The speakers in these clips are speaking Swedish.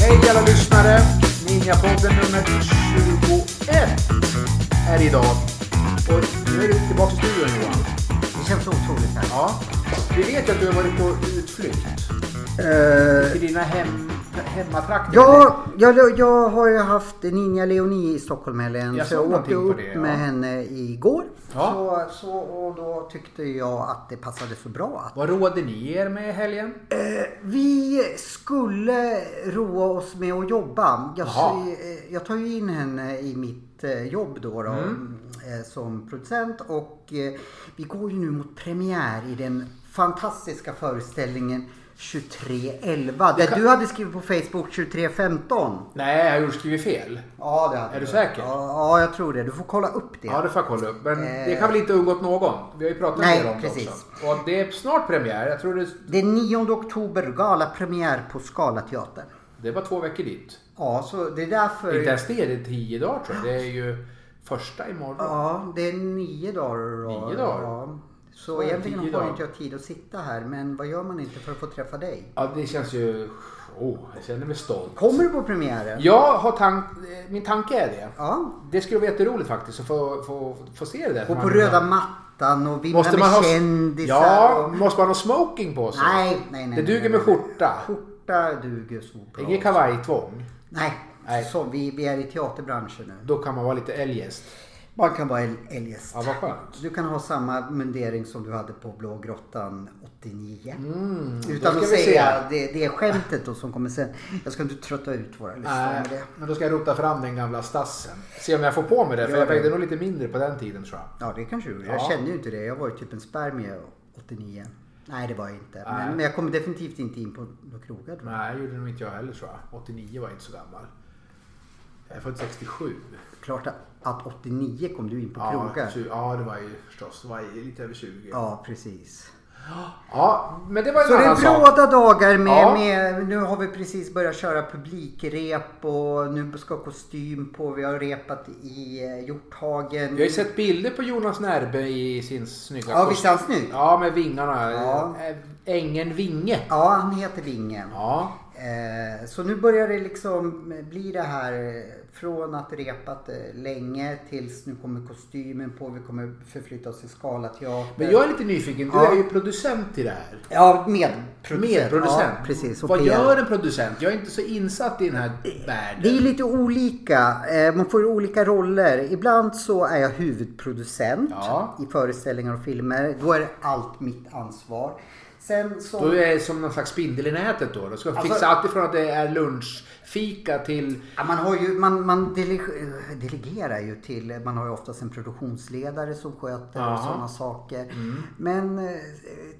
Hej alla lyssnare! Ninjapodden nummer 21 är idag. Och nu är du tillbaka i studion Johan. Det känns otroligt här. Ja. Vi vet ju att du har varit på utflykt. Eh, Till dina hem, hemmatrakter. ja, jag, jag har ju haft Ninja Leonie i Stockholmhelgen. Jag Så såg jag åkte någonting på upp det, ja. med henne igår. Ja. Så, så, och då tyckte jag att det passade så bra att Vad råder ni er med i helgen? Vi skulle roa oss med att jobba. Jag, Jaha. eh, jag tar ju in henne i mitt eh, jobb då, då eh, som producent och eh, vi går ju nu mot premiär i den fantastiska föreställningen 2311. Där du hade skrivit på Facebook 2315. Nej, jag har ju skrivit fel. Ja, det hade Är du säker? Ja, ja, jag tror det. Du får kolla upp det. Ja, det får jag kolla upp. Men Eh. det kan väl inte ha undgått någon? Vi har ju pratat Nej, en del om precis. det också. Och det är snart premiär. Jag tror det, Den 9 oktober, galapremiär på Scalateatern. det var två veckor dit. Ja, så det är därför... Inte ens det, det är tio dagar tror jag. Det är ju första imorgon. Ja, det är nio dagar. då. Nio dagar? Ja. Så, Så är det egentligen har tio dagar. inte jag tid att sitta här, men vad gör man inte för att få träffa dig? Ja, det känns ju... Oh, jag känner mig stolt. Kommer du på premiären? Jag har tank... eh, Min tanke är det. Ja. Det skulle vara jätteroligt faktiskt att få, få, få se det där. Gå på röda mattan och vimla Måste med man ha... kändisar. Ja, och... måste man ha smoking på sig? Nej, nej, nej. Det duger nej, med nej. skjorta. Skjorta duger så bra. Inget kavajtvång. Nej, Nej. Så, vi, vi är i teaterbranschen nu. Då kan man vara lite eljest. Man kan vara el- eljest. Ja, vad skönt. Du kan ha samma mundering som du hade på Blå grottan 89. Mm, då Utan ska att vi säga det, det är skämtet då som kommer sen. Jag ska inte trötta ut våra lyssnare Nej, med det. Eh, men då ska jag rota fram den gamla stassen. Se om jag får på mig det, för Gör jag det. vägde nog lite mindre på den tiden tror jag. Ja, det kanske du gjorde. Jag Ja. kände ju inte det. Jag var ju typ en spermie 89. Nej, det var jag inte. Nej. Men, men jag kom definitivt inte in på några krogar då. Nej, det gjorde nog inte jag heller tror jag. 89 var jag inte så gammal. Jag är född 67. Klart att, att 89 kom du in på Ja, krogar. tju- ja, det var ju förstås. Det var ju lite över 20. Ja, Ja, precis. men det var Så en det annan är sak. bråda dagar med, Ja. med... Nu har vi precis börjat köra publikrep och nu ska kostym på. Vi har repat i eh, Hjorthagen. Jag har ju sett bilder på Jonas Närbe i sin snygga Ja, kostym. visst är han snygg? Ja, med vingarna. Ja. Eh, Ängen Vinge. Ja, han heter Vinge. Ja, Eh, Så nu börjar det liksom bli det här eh, från att repat eh, länge tills nu kommer kostymen på, vi kommer förflytta oss till Scalateatern. men jag är lite nyfiken. Du Ja. är ju producent till det här. Ja, medproducent. Medproducent. Ja, precis. och Vad PR. gör en producent? Jag är inte så insatt i den här världen. Det är lite olika. Eh, Man får ju olika roller. Ibland så är jag huvudproducent Ja. i föreställningar och filmer. Då är allt mitt ansvar. Sen så... Då är det som någon slags spindel i nätet då. Du ska Alltså- fixa allt ifrån att det är lunchfika till... Ja, man har ju, man, man dele- eh, delegerar ju till, man har ju oftast en produktionsledare som sköter Jaha. och sådana saker. Mm. Men eh,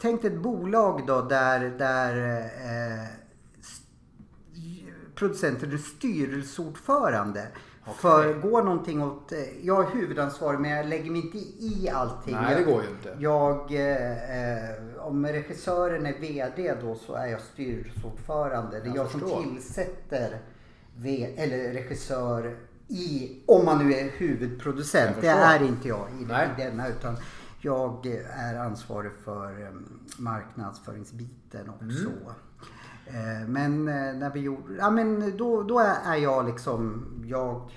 tänk dig ett bolag då där, där eh, st- producenten är styrelseordförande. För går någonting åt, eh, jag är huvudansvarig men jag lägger mig inte i allting. Nej, det går ju inte. Jag, eh, eh, om regissören är VD då så är jag styrelseordförande. Det är Jag jag, förstår. som tillsätter v- eller regissör i, om man nu är huvudproducent. Jag Det förstår. är inte jag i, Nej. i denna utan jag är ansvarig för eh, marknadsföringsbiten Mm. också. Eh, Men eh, när vi gjorde, ja men då, då är är jag liksom, jag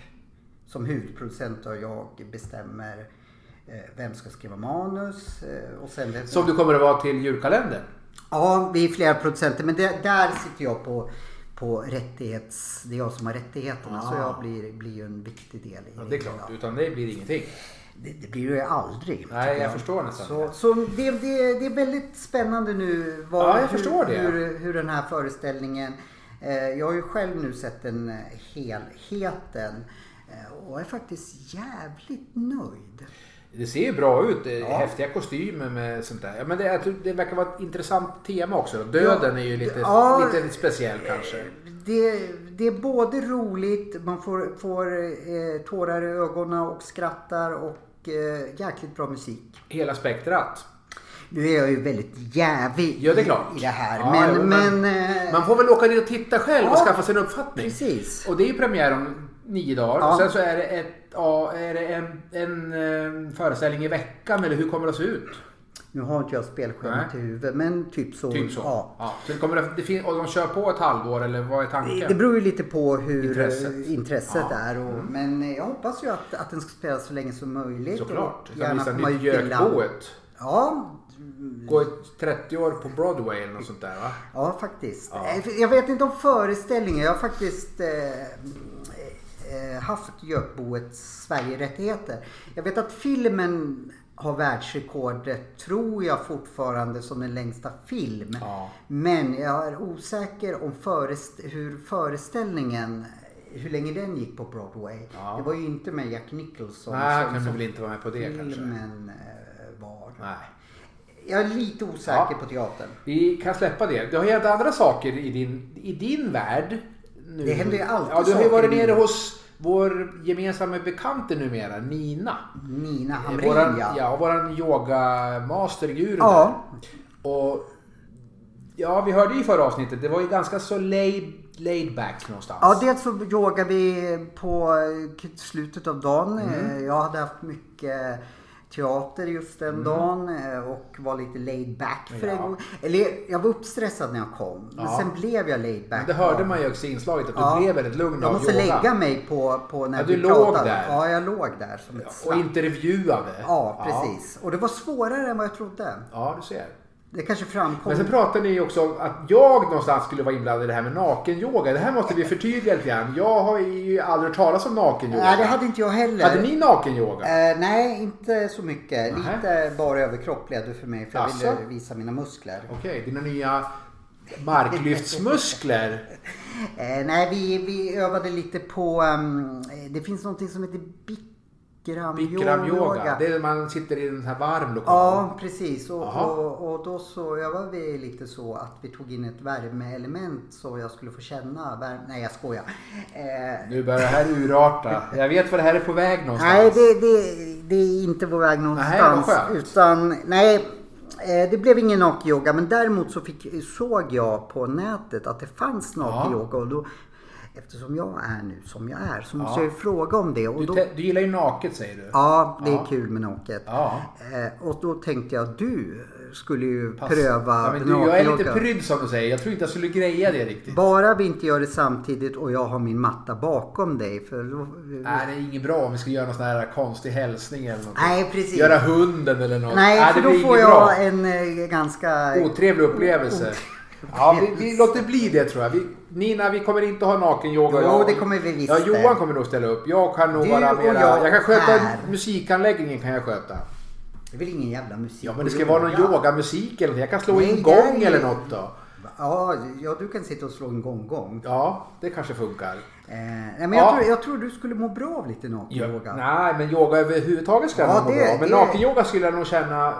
som huvudproducent och jag bestämmer eh, vem ska skriva manus eh, och sen vem Som du kommer att vara till julkalendern. Ja, vi är flera producenter men det, där sitter jag på, på rättighets... Det är jag som har rättigheterna så Ah. jag blir, blir ju en viktig del i Ja, det är Ja. klart. Mm. Utan det blir ingenting. Det, det blir ju aldrig. Nej, tycker jag förstår nästan Så, det. så det, det, det är väldigt spännande nu vad, Ja, jag hur, förstår det. Hur, hur den här föreställningen... Eh, jag har ju själv nu sett den eh, helheten eh, och är faktiskt jävligt nöjd. Det ser ju bra ut. Det är Ja. Häftiga kostymer med sånt där. Ja, men det, jag tror det verkar vara ett intressant tema också. Då. Döden är ju lite, Ja. lite speciell kanske. Det, det är både roligt, man får, får eh, tårar i ögonen och skrattar och eh, jäkligt bra musik. Hela spektrat. Nu är jag ju väldigt jävig Ja, det är i- klart. i det här. Ja, men, jo, men- men, eh, Man får väl åka dit och titta själv och Ja, skaffa sig en uppfattning. precis. Och det är ju premiär om nio dagar. Ja. Och sen så är det, ett, ja, är det en, en, eh, föreställning i veckan eller hur kommer det att se ut? Nu har inte jag spelschemat i Nej. huvudet men typ så. Typ så. Ja. Så det kommer det, det fin- och de kör på ett halvår eller vad är tanken? Det beror ju lite på hur intresset, Intresset. intresset Ja. Mm. är. Och, Men eh, jag hoppas ju att, att den ska spelas så länge som möjligt. Såklart. Och Sen Mm. gärna visar komma nytt ut till land. Gökboet. Ja, Gå ett 30 år på Broadway eller något sånt där va? ja faktiskt. Eh, Jag vet inte om föreställningen. Jag har faktiskt eh, eh, haft Gökboets Sverigerättigheter. Jag vet att filmen har världsrekordet, tror jag fortfarande, som den längsta film. Ja. Men jag är osäker om förest- hur föreställningen, hur länge den gick på Broadway. Ja. Det var ju inte med Jack Nicholson Nej, kan som, du som väl inte vara med på det kanske? filmen eh, var. Nej. Jag är lite osäker Ja. på teatern. Vi kan släppa det. Det har hänt andra saker i din, i din värld. Nu. Det händer ju alltid Ja, du har ju saker varit i nere min- hos vår gemensamma bekante numera, Nina. Nina Hamrin Våran, ja. ja, våran yogamasterguru. Ja. där. Och, ja, vi hörde ju i förra avsnittet, det var ju ganska så laid, laid back någonstans. Ja, dels så yogar vi på eh, slutet av dagen. Mm. Eh, Jag hade haft mycket teater just den dagen eh, och var lite laid back för en Mm. Ja. gång. Eller jag var uppstressad när jag kom. Men Ja. sen blev jag laid back. Men det hörde man ju också i inslaget att du Ja. blev väldigt lugn Jag av måste yoga. lägga mig på, på när Ja, vi du låg pratade. där. Ja, jag låg där som ett Och slapp. intervjuade. Ja, precis. Och det var svårare än vad jag trodde. Ja, ja du ser. Det kanske framkom. Men sen pratade ni ju också om att jag någonstans skulle vara inblandad i det här med nakenyoga. Det här måste vi förtydliga lite grann. Jag har ju aldrig hört talas om nakenyoga. Nej, det hade inte jag heller. Hade ni nakenyoga? Eh, nej, inte så mycket. Nähä. Lite bara överkropp blev det för mig för jag Asså? ville visa mina muskler. Okej, dina nya marklyftsmuskler. Eh, nej, vi, vi övade lite på... ehm, eh, det finns någonting som heter Bikramyoga. Bikramyoga. Det är när man sitter i en här varm lokal. Ja, precis. Och, Jaha. och, och då så övade vi lite så att vi tog in ett värmeelement så jag skulle få känna värme. Nej, jag skojar. Eh, Nu börjar det här urarta. Jag vet var det här är på väg någonstans. Nej, det, det, det är inte på väg någonstans. vad skönt. utan, nej, eh, det blev ingen nakenyoga. Men däremot så fick, såg jag på nätet att det fanns nakenyoga. Och då, eftersom jag är nu som jag är så måste Ja. jag ju fråga om det. Och du, då, te- du gillar ju naket säger du. ja, det är Ja. kul med naket. Ja. Eh, Och då tänkte jag du skulle ju Pass. pröva ja, men du, Jag är lite nakenyoga. prydd som du säger. Jag tror inte jag skulle greja det riktigt. Bara vi inte gör det samtidigt och jag har min matta bakom dig. För då, Nej, det är inget bra om vi ska göra någon sån här konstig hälsning eller något. Nej, precis. Göra hunden eller något. Nej, det för då blir får inget jag en eh, ganska... bra. Otrevlig upplevelse. Ja, vi, vi låter bli det tror jag. Vi, Nina, vi kommer inte ha nakenyoga. Jo, Jag- det kommer vi visst Ja, det. Johan kommer nog ställa upp. Jag kan nog Du vara och mera... Jag, jag kan sköta här. musikanläggningen kan jag sköta. Det är väl ingen jävla musik? Ja, men det ska och vara någon yoga. yogamusik eller något. Jag kan slå Nej, in det är gång ju- eller något då. Ja, ja, du kan sitta och slå en gong-gong. Ja, det kanske funkar. Eh, nej, men Ja. jag, tror, jag tror du skulle må bra av lite nakenyoga. Nej, men yoga överhuvudtaget skulle Ja, jag nog må det- bra. Men det- nakenyoga skulle jag nog känna... eh,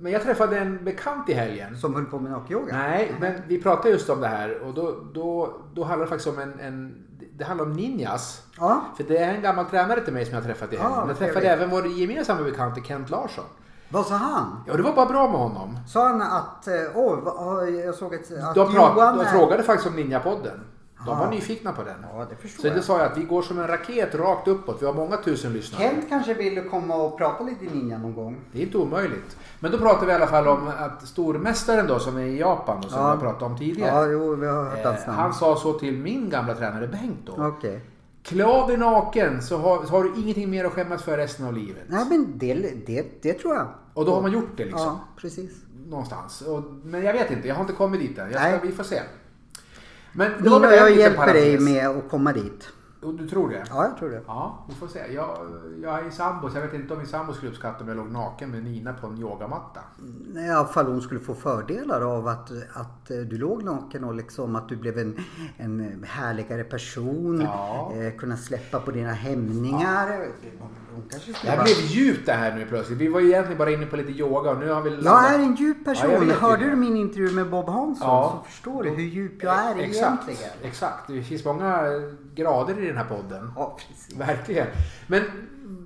Men jag träffade en bekant i helgen. Som höll på med nakenyoga? Nej, men vi pratade just om det här och då, då, då handlar det faktiskt om en, en... Det handlar om ninjas. Ja, För det är en gammal tränare till mig som jag har träffat i helgen. Ah, jag vad träffade trevligt. även vår gemensamma bekant Kent Larsson. vad sa han? Ja, det var bara bra med honom. Sa han att, eh, åh, vad- ja, jag såg att, att De, prat, de är- frågade faktiskt om Ninjapodden. De Ah. var nyfikna på den. Ja, det förstår Så jag. det sa jag att vi går som en raket rakt uppåt. Vi har många tusen lyssnare. Kent kanske vill komma och prata lite ninja någon gång. Det är inte omöjligt. Men då pratar vi i alla fall om att stormästaren då som är i Japan och som Ja. jag pratade om Ja, tidigare. jo, vi har hört hans eh, namn. han sa så till min gamla tränare Bengt då. Okej. Klä av dig naken så har, så har du ingenting mer att skämmas för resten av livet. Nej, men det, det, det tror jag. Och då har man gjort det liksom. Ja, precis. Någonstans. Och, men jag vet inte, jag har inte kommit dit än. Jag Nej. ska, vi får se. Men det var Nina, väl en jag liten hjälper dig parentes. med att komma dit. Och du tror det? Ja, jag tror det. Ja, vi får se. Jag, jag är i sambo så jag vet inte om min sambo skulle uppskatta om jag låg naken med Nina på en yogamatta. Nej, I alla fall hon skulle få fördelar av att, att eh, du låg naken och liksom att du blev en, en härligare person. Ja. Eh, kunna släppa på dina hämningar. Hon, hon kanske Det skulle här vara... blev djupt det här nu plötsligt. Vi var ju egentligen bara inne på lite yoga och nu har vi Jag är en djup person. Ja, jag vet Hörde ju. du min intervju med Bob Hansson Ja. så förstår du hur djup jag är Exakt, egentligen. exakt. Det finns många grader i den här podden. Ja, precis. Verkligen. Men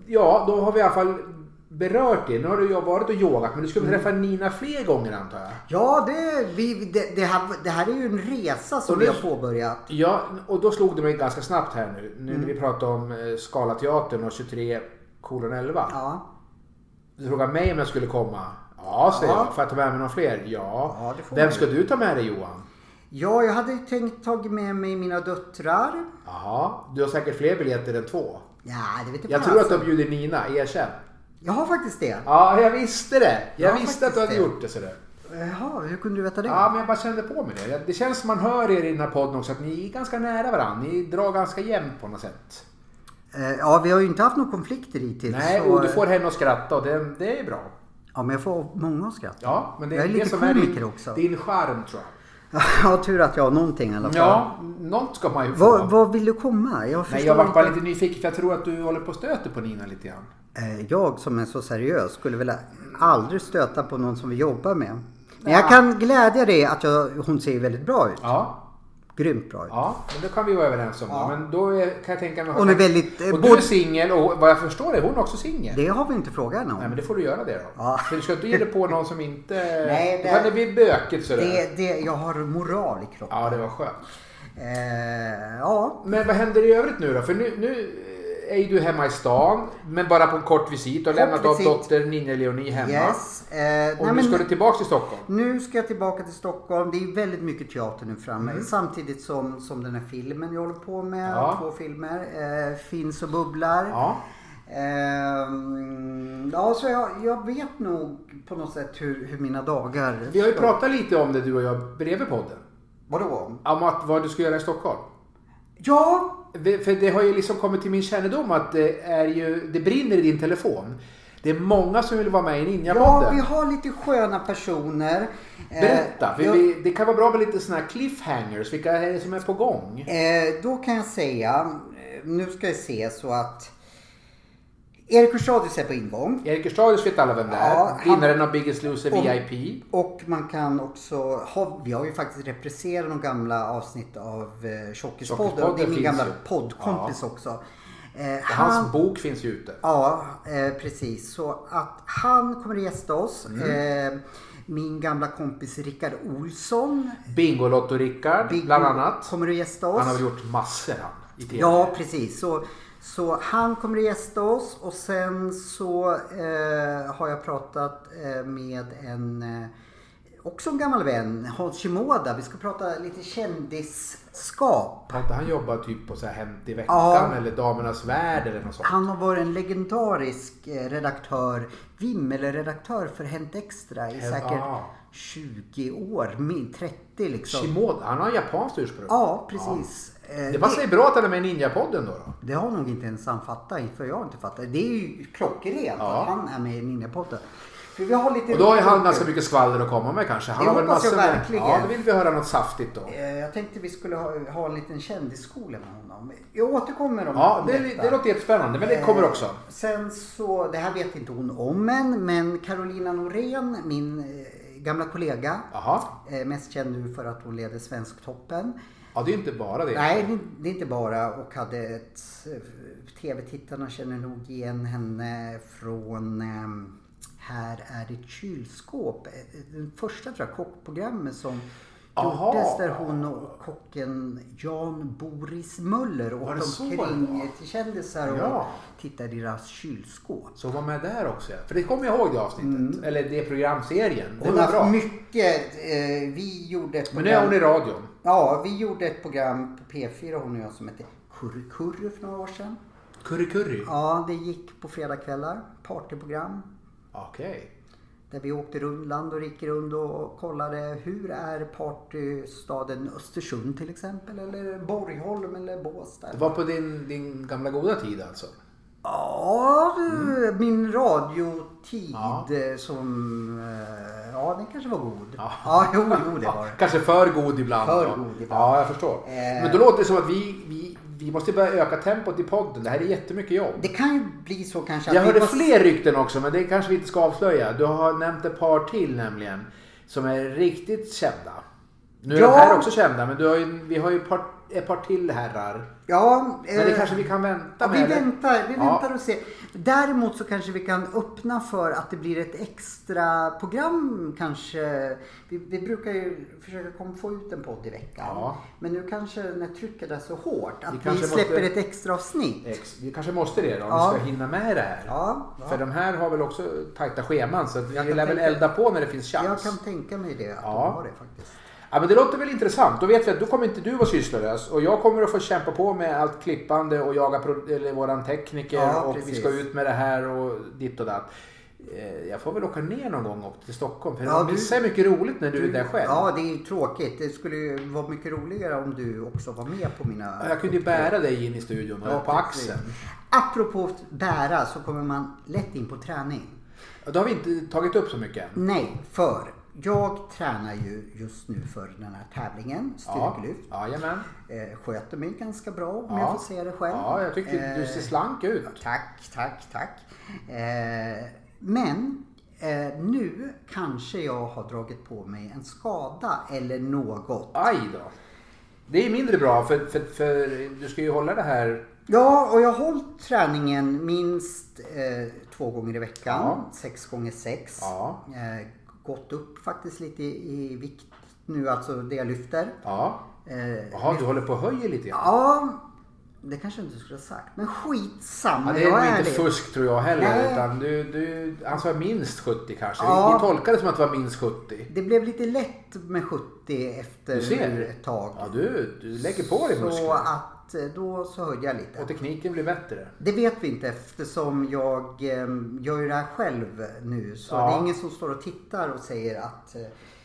ja, då har vi i alla fall berört det. Nu har du ju varit och yogat men du Mm. skulle träffa Nina fler gånger antar jag? Ja, det, vi, det, det, här, det här är ju en resa som Och vi nu- har påbörjat. Ja, och då slog det mig ganska snabbt här nu. Nu när vi Mm. pratade om eh, Scalateatern och 23 kolon 11. Ja, Du frågade mig om jag skulle komma. Ja, säger Ja. jag. Får jag ta med mig någon fler? Ja. Ja, det får Vem du. ska du ta med dig Johan? ja jag hade tänkt tagit med mig mina döttrar. Jaha, du har säkert fler biljetter än två. Ja, det vet Jag tror att du har bjudit Nina, erkänn. Jag har faktiskt det. Ja, jag visste det. Jag Ja, visste att du hade faktiskt det. gjort det. Sådär. Jaha, hur kunde du veta det? Ja, men jag bara kände på mig det. Det känns som man hör er i den här podden också att ni är ganska nära varandra. Ni drar ganska jämnt på något sätt. Eh, Ja, vi har ju inte haft några konflikter hittills. Nej, så- och du får henne att skratta och det, det är bra. Ja, men jag får många att skratta. Ja, men det Jag är det lite som komiker din, också. din charm tror jag. Ja, tur att jag har någonting i alla fall. Ja, något ska man ju få. Vad, vad vill du komma? Jag Nej, förstår jag var bara inte. lite nyfiken för jag tror att du håller på och stöter på Nina lite grann. Eh, Jag som är så seriös skulle väl aldrig stöta på någon som vi jobbar med. Men jag kan glädja dig att jag, hon ser väldigt bra ut. Ja, Grymt bra ut. ja, men då kan vi vara överens om det. Ja. Men då är, kan jag tänka mig... Hon är väldigt, eh, Och du är både- singel och vad jag förstår är hon också singel. Det har vi inte frågat henne Nej, om. men det får du göra det då. Ja. För du ska inte ge dig på någon som inte... Nej, det... det- Kan det bli bökigt sådär? Det, det, jag har moral i kroppen. Ja, det var skönt. Eh, ja, Men vad händer i övrigt nu då? För nu, nu är ju du hemma i stan, men bara på en kort visit. Du har Kort lämnat av visit. dotter Ninja Leonie hemma. yes. Eh, Och nej, nu men- ska du tillbaka till Stockholm. Nu ska jag tillbaka till Stockholm. Det är väldigt mycket teater nu framme. Samtidigt som, som den här filmen jag håller på med. Mm. Ja. Två filmer. Eh, Finns och bubblar. Ja. Ehm, ja, så jag, jag vet nog på något sätt hur, hur mina dagar... Vi har ju ska- pratat lite om det du och jag bredvid podden. Vadå? Om att vad du ska göra i Stockholm. Ja! Det- För det har ju liksom kommit till min kännedom att det, är ju, det brinner i din telefon. Det är många som vill vara med i Ja, Ninja-podden. vi har lite sköna personer. Eh, Berätta, för jag- vi, det kan vara bra med lite såna här cliffhangers. Vilka är det som är på gång? Eh, då kan jag säga, eh, nu ska jag se så att... Erik Hörstadius är på ingång. Erik Erstadius vet alla vem det är. Ja, han- Vinnaren av Biggest Loser Om- VIP. Och man kan också ha, vi har ju faktiskt repriserat några gamla avsnitt av eh, Tjockispodden. Tjockispodden Det är min finns gamla ju. poddkompis också. Eh, Hans han, bok finns ju ute. ja, eh, precis. Så att han kommer att gästa oss. Mm. Eh, min gamla kompis Rickard Olsson. Bingolotto-Rickard, bland annat. Kommer att gästa oss. Han har väl gjort massor han. I TV. Ja, precis. Så, så han kommer att gästa oss och sen så eh, har jag pratat eh, med en eh, också en gammal vän, Hans Shimoda. Vi ska prata lite kändisskap. Har inte han jobbat typ på så här Hämt i veckan Ja. eller Damernas Värld eller något sånt? Han har varit en legendarisk eh, redaktör, Vimmel-redaktör för Hänt Extra i Hänt- säkert ah. 20 år, min 30 liksom. Shimoda, han har japanskt ursprung. Ja, precis. Eh, Det passar ju bra att han är med i Ninja-podden då. då. Det har nog inte ens han fattat, för jag har inte fattat. Det är ju klockrent Ja. att han är med i Ninjapodden. För vi har lite... Och då har ju han alltså, ganska mycket skvaller att komma med kanske. Han Det har väl hoppas jag massor med- verkligen. Ja, då vill vi höra något saftigt då. Eh, Jag tänkte vi skulle ha, ha en liten kändisskola med honom. Jag återkommer om Ja, om det, detta. det låter jättespännande men det kommer Eh, också. Sen så, det här vet inte hon om än, men Carolina Norén, min eh, gamla kollega, Jaha. eh, mest känd nu för att hon leder Svensktoppen. Ja, det är ju inte bara det. Nej, det- det är inte bara och hade ett... eh, Tv-tittarna känner nog igen henne från ehm, Här är ditt kylskåp. Eh, Den första tror jag, kockprogrammet som Aha. gjordes där hon och kocken Jan Boris Möller Var åkte det så det var? omkring till kändisar och Ja. tittade i deras kylskåp. Så var med där också. ja. För det kommer jag ihåg det avsnittet. Eller det programserien. Det Mm. Hon var har bra. haft mycket. Eh, vi gjorde ett Men nu är program- hon i radion. Ja, vi gjorde ett program på P4 hon och jag som hette Curry Curry för några år sedan. Curry Curry. Ja, det gick på fredagkvällar. Partyprogram. Okej. Där vi åkte runt, land och rike runt och kollade hur är partystaden Östersund till exempel? Eller Borgholm eller Båstad? Det var på din, din gamla goda tid alltså. Ja, du, min radiotid Mm. Ja. eh, som... eh, Ja, den kanske var god. Ja. Ja, jo, jo, det var Ja, det. kanske för god ibland. För då. god ibland. Ja, jag förstår. Eh. Men då låter det som att vi, vi, vi måste börja öka tempot i podden. Det här är jättemycket jobb. Det kan ju bli så kanske att Jag vi hörde får- fler rykten också, men det kanske vi inte ska avslöja. Du har nämnt ett par till nämligen, som är riktigt kända. Nu är Ja. de här också kända, men du har ju, vi har ju ett par ett par till herrar. Ja, Men det eh, kanske vi kan vänta Ja, med. vi eller? väntar, vi Ja. väntar och ser. Däremot så kanske vi kan öppna för att det blir ett extra program kanske. Vi, vi brukar ju försöka kom- få ut en podd i veckan. Ja. Men nu kanske när trycket är så hårt att Vi vi, kanske släpper måste- ett extra avsnitt. Ex- Vi kanske måste det då, om Ja. vi ska hinna med det här. Ja, ja. För de här har väl också tajta scheman så att vi Jag lär kan väl tänka- elda på när det finns chans. Jag kan tänka mig det, att Ja. de har det faktiskt. Ja, men det låter väl intressant. Då vet vi att då kommer inte du vara sysslolös och jag kommer att få kämpa på med allt klippande och jaga pro- eller våran tekniker Ja, och vi precis. ska ut med det här och ditt och datt. Eh, Jag får väl åka ner någon gång upp till Stockholm för Ja, jag du- missar mycket roligt när du, är där själv. Ja, det är ju tråkigt. Det skulle ju vara mycket roligare om du också var med på mina... Jag kunde ju bära dig in i studion och Ja, på precis. axeln. Apropå bära så kommer man lätt in på träning. Och Då har vi inte tagit upp så mycket än. Nej, för jag tränar ju just nu för den här tävlingen, Ja, styrkelyft. jajamän. Eh, sköter mig ganska bra om Ja. jag får säga det själv. Ja, jag tycker du Eh, ser slank ut. Tack, tack, tack. Eh, men eh, nu kanske jag har dragit på mig en skada eller något. Aj då. Det är mindre bra för, för, för du ska ju hålla det här. Ja, och jag har hållit träningen minst eh, två gånger i veckan. Ja. Sex gånger sex. Ja. Eh, gått upp faktiskt lite i, i vikt nu, alltså det jag lyfter. Ja. Eh, Jaha, du håller på och höjer lite grann. Ja, det kanske jag inte skulle ha sagt. Men skitsamma. Ja, det jag är nog är inte det. fusk tror jag heller. Nej. Utan du, du, han sa minst 70 kanske. Ja. Vi tolkar det som att det var minst 70. Det blev lite lätt med 70 Du efter ser. ett tag. Ja, du, du lägger på dig så muskler. att eh, då så höjde jag lite. Och tekniken blir bättre. Det vet vi inte eftersom jag eh, gör ju det här själv nu. Så Ja. det är ingen som står och tittar och säger att eh,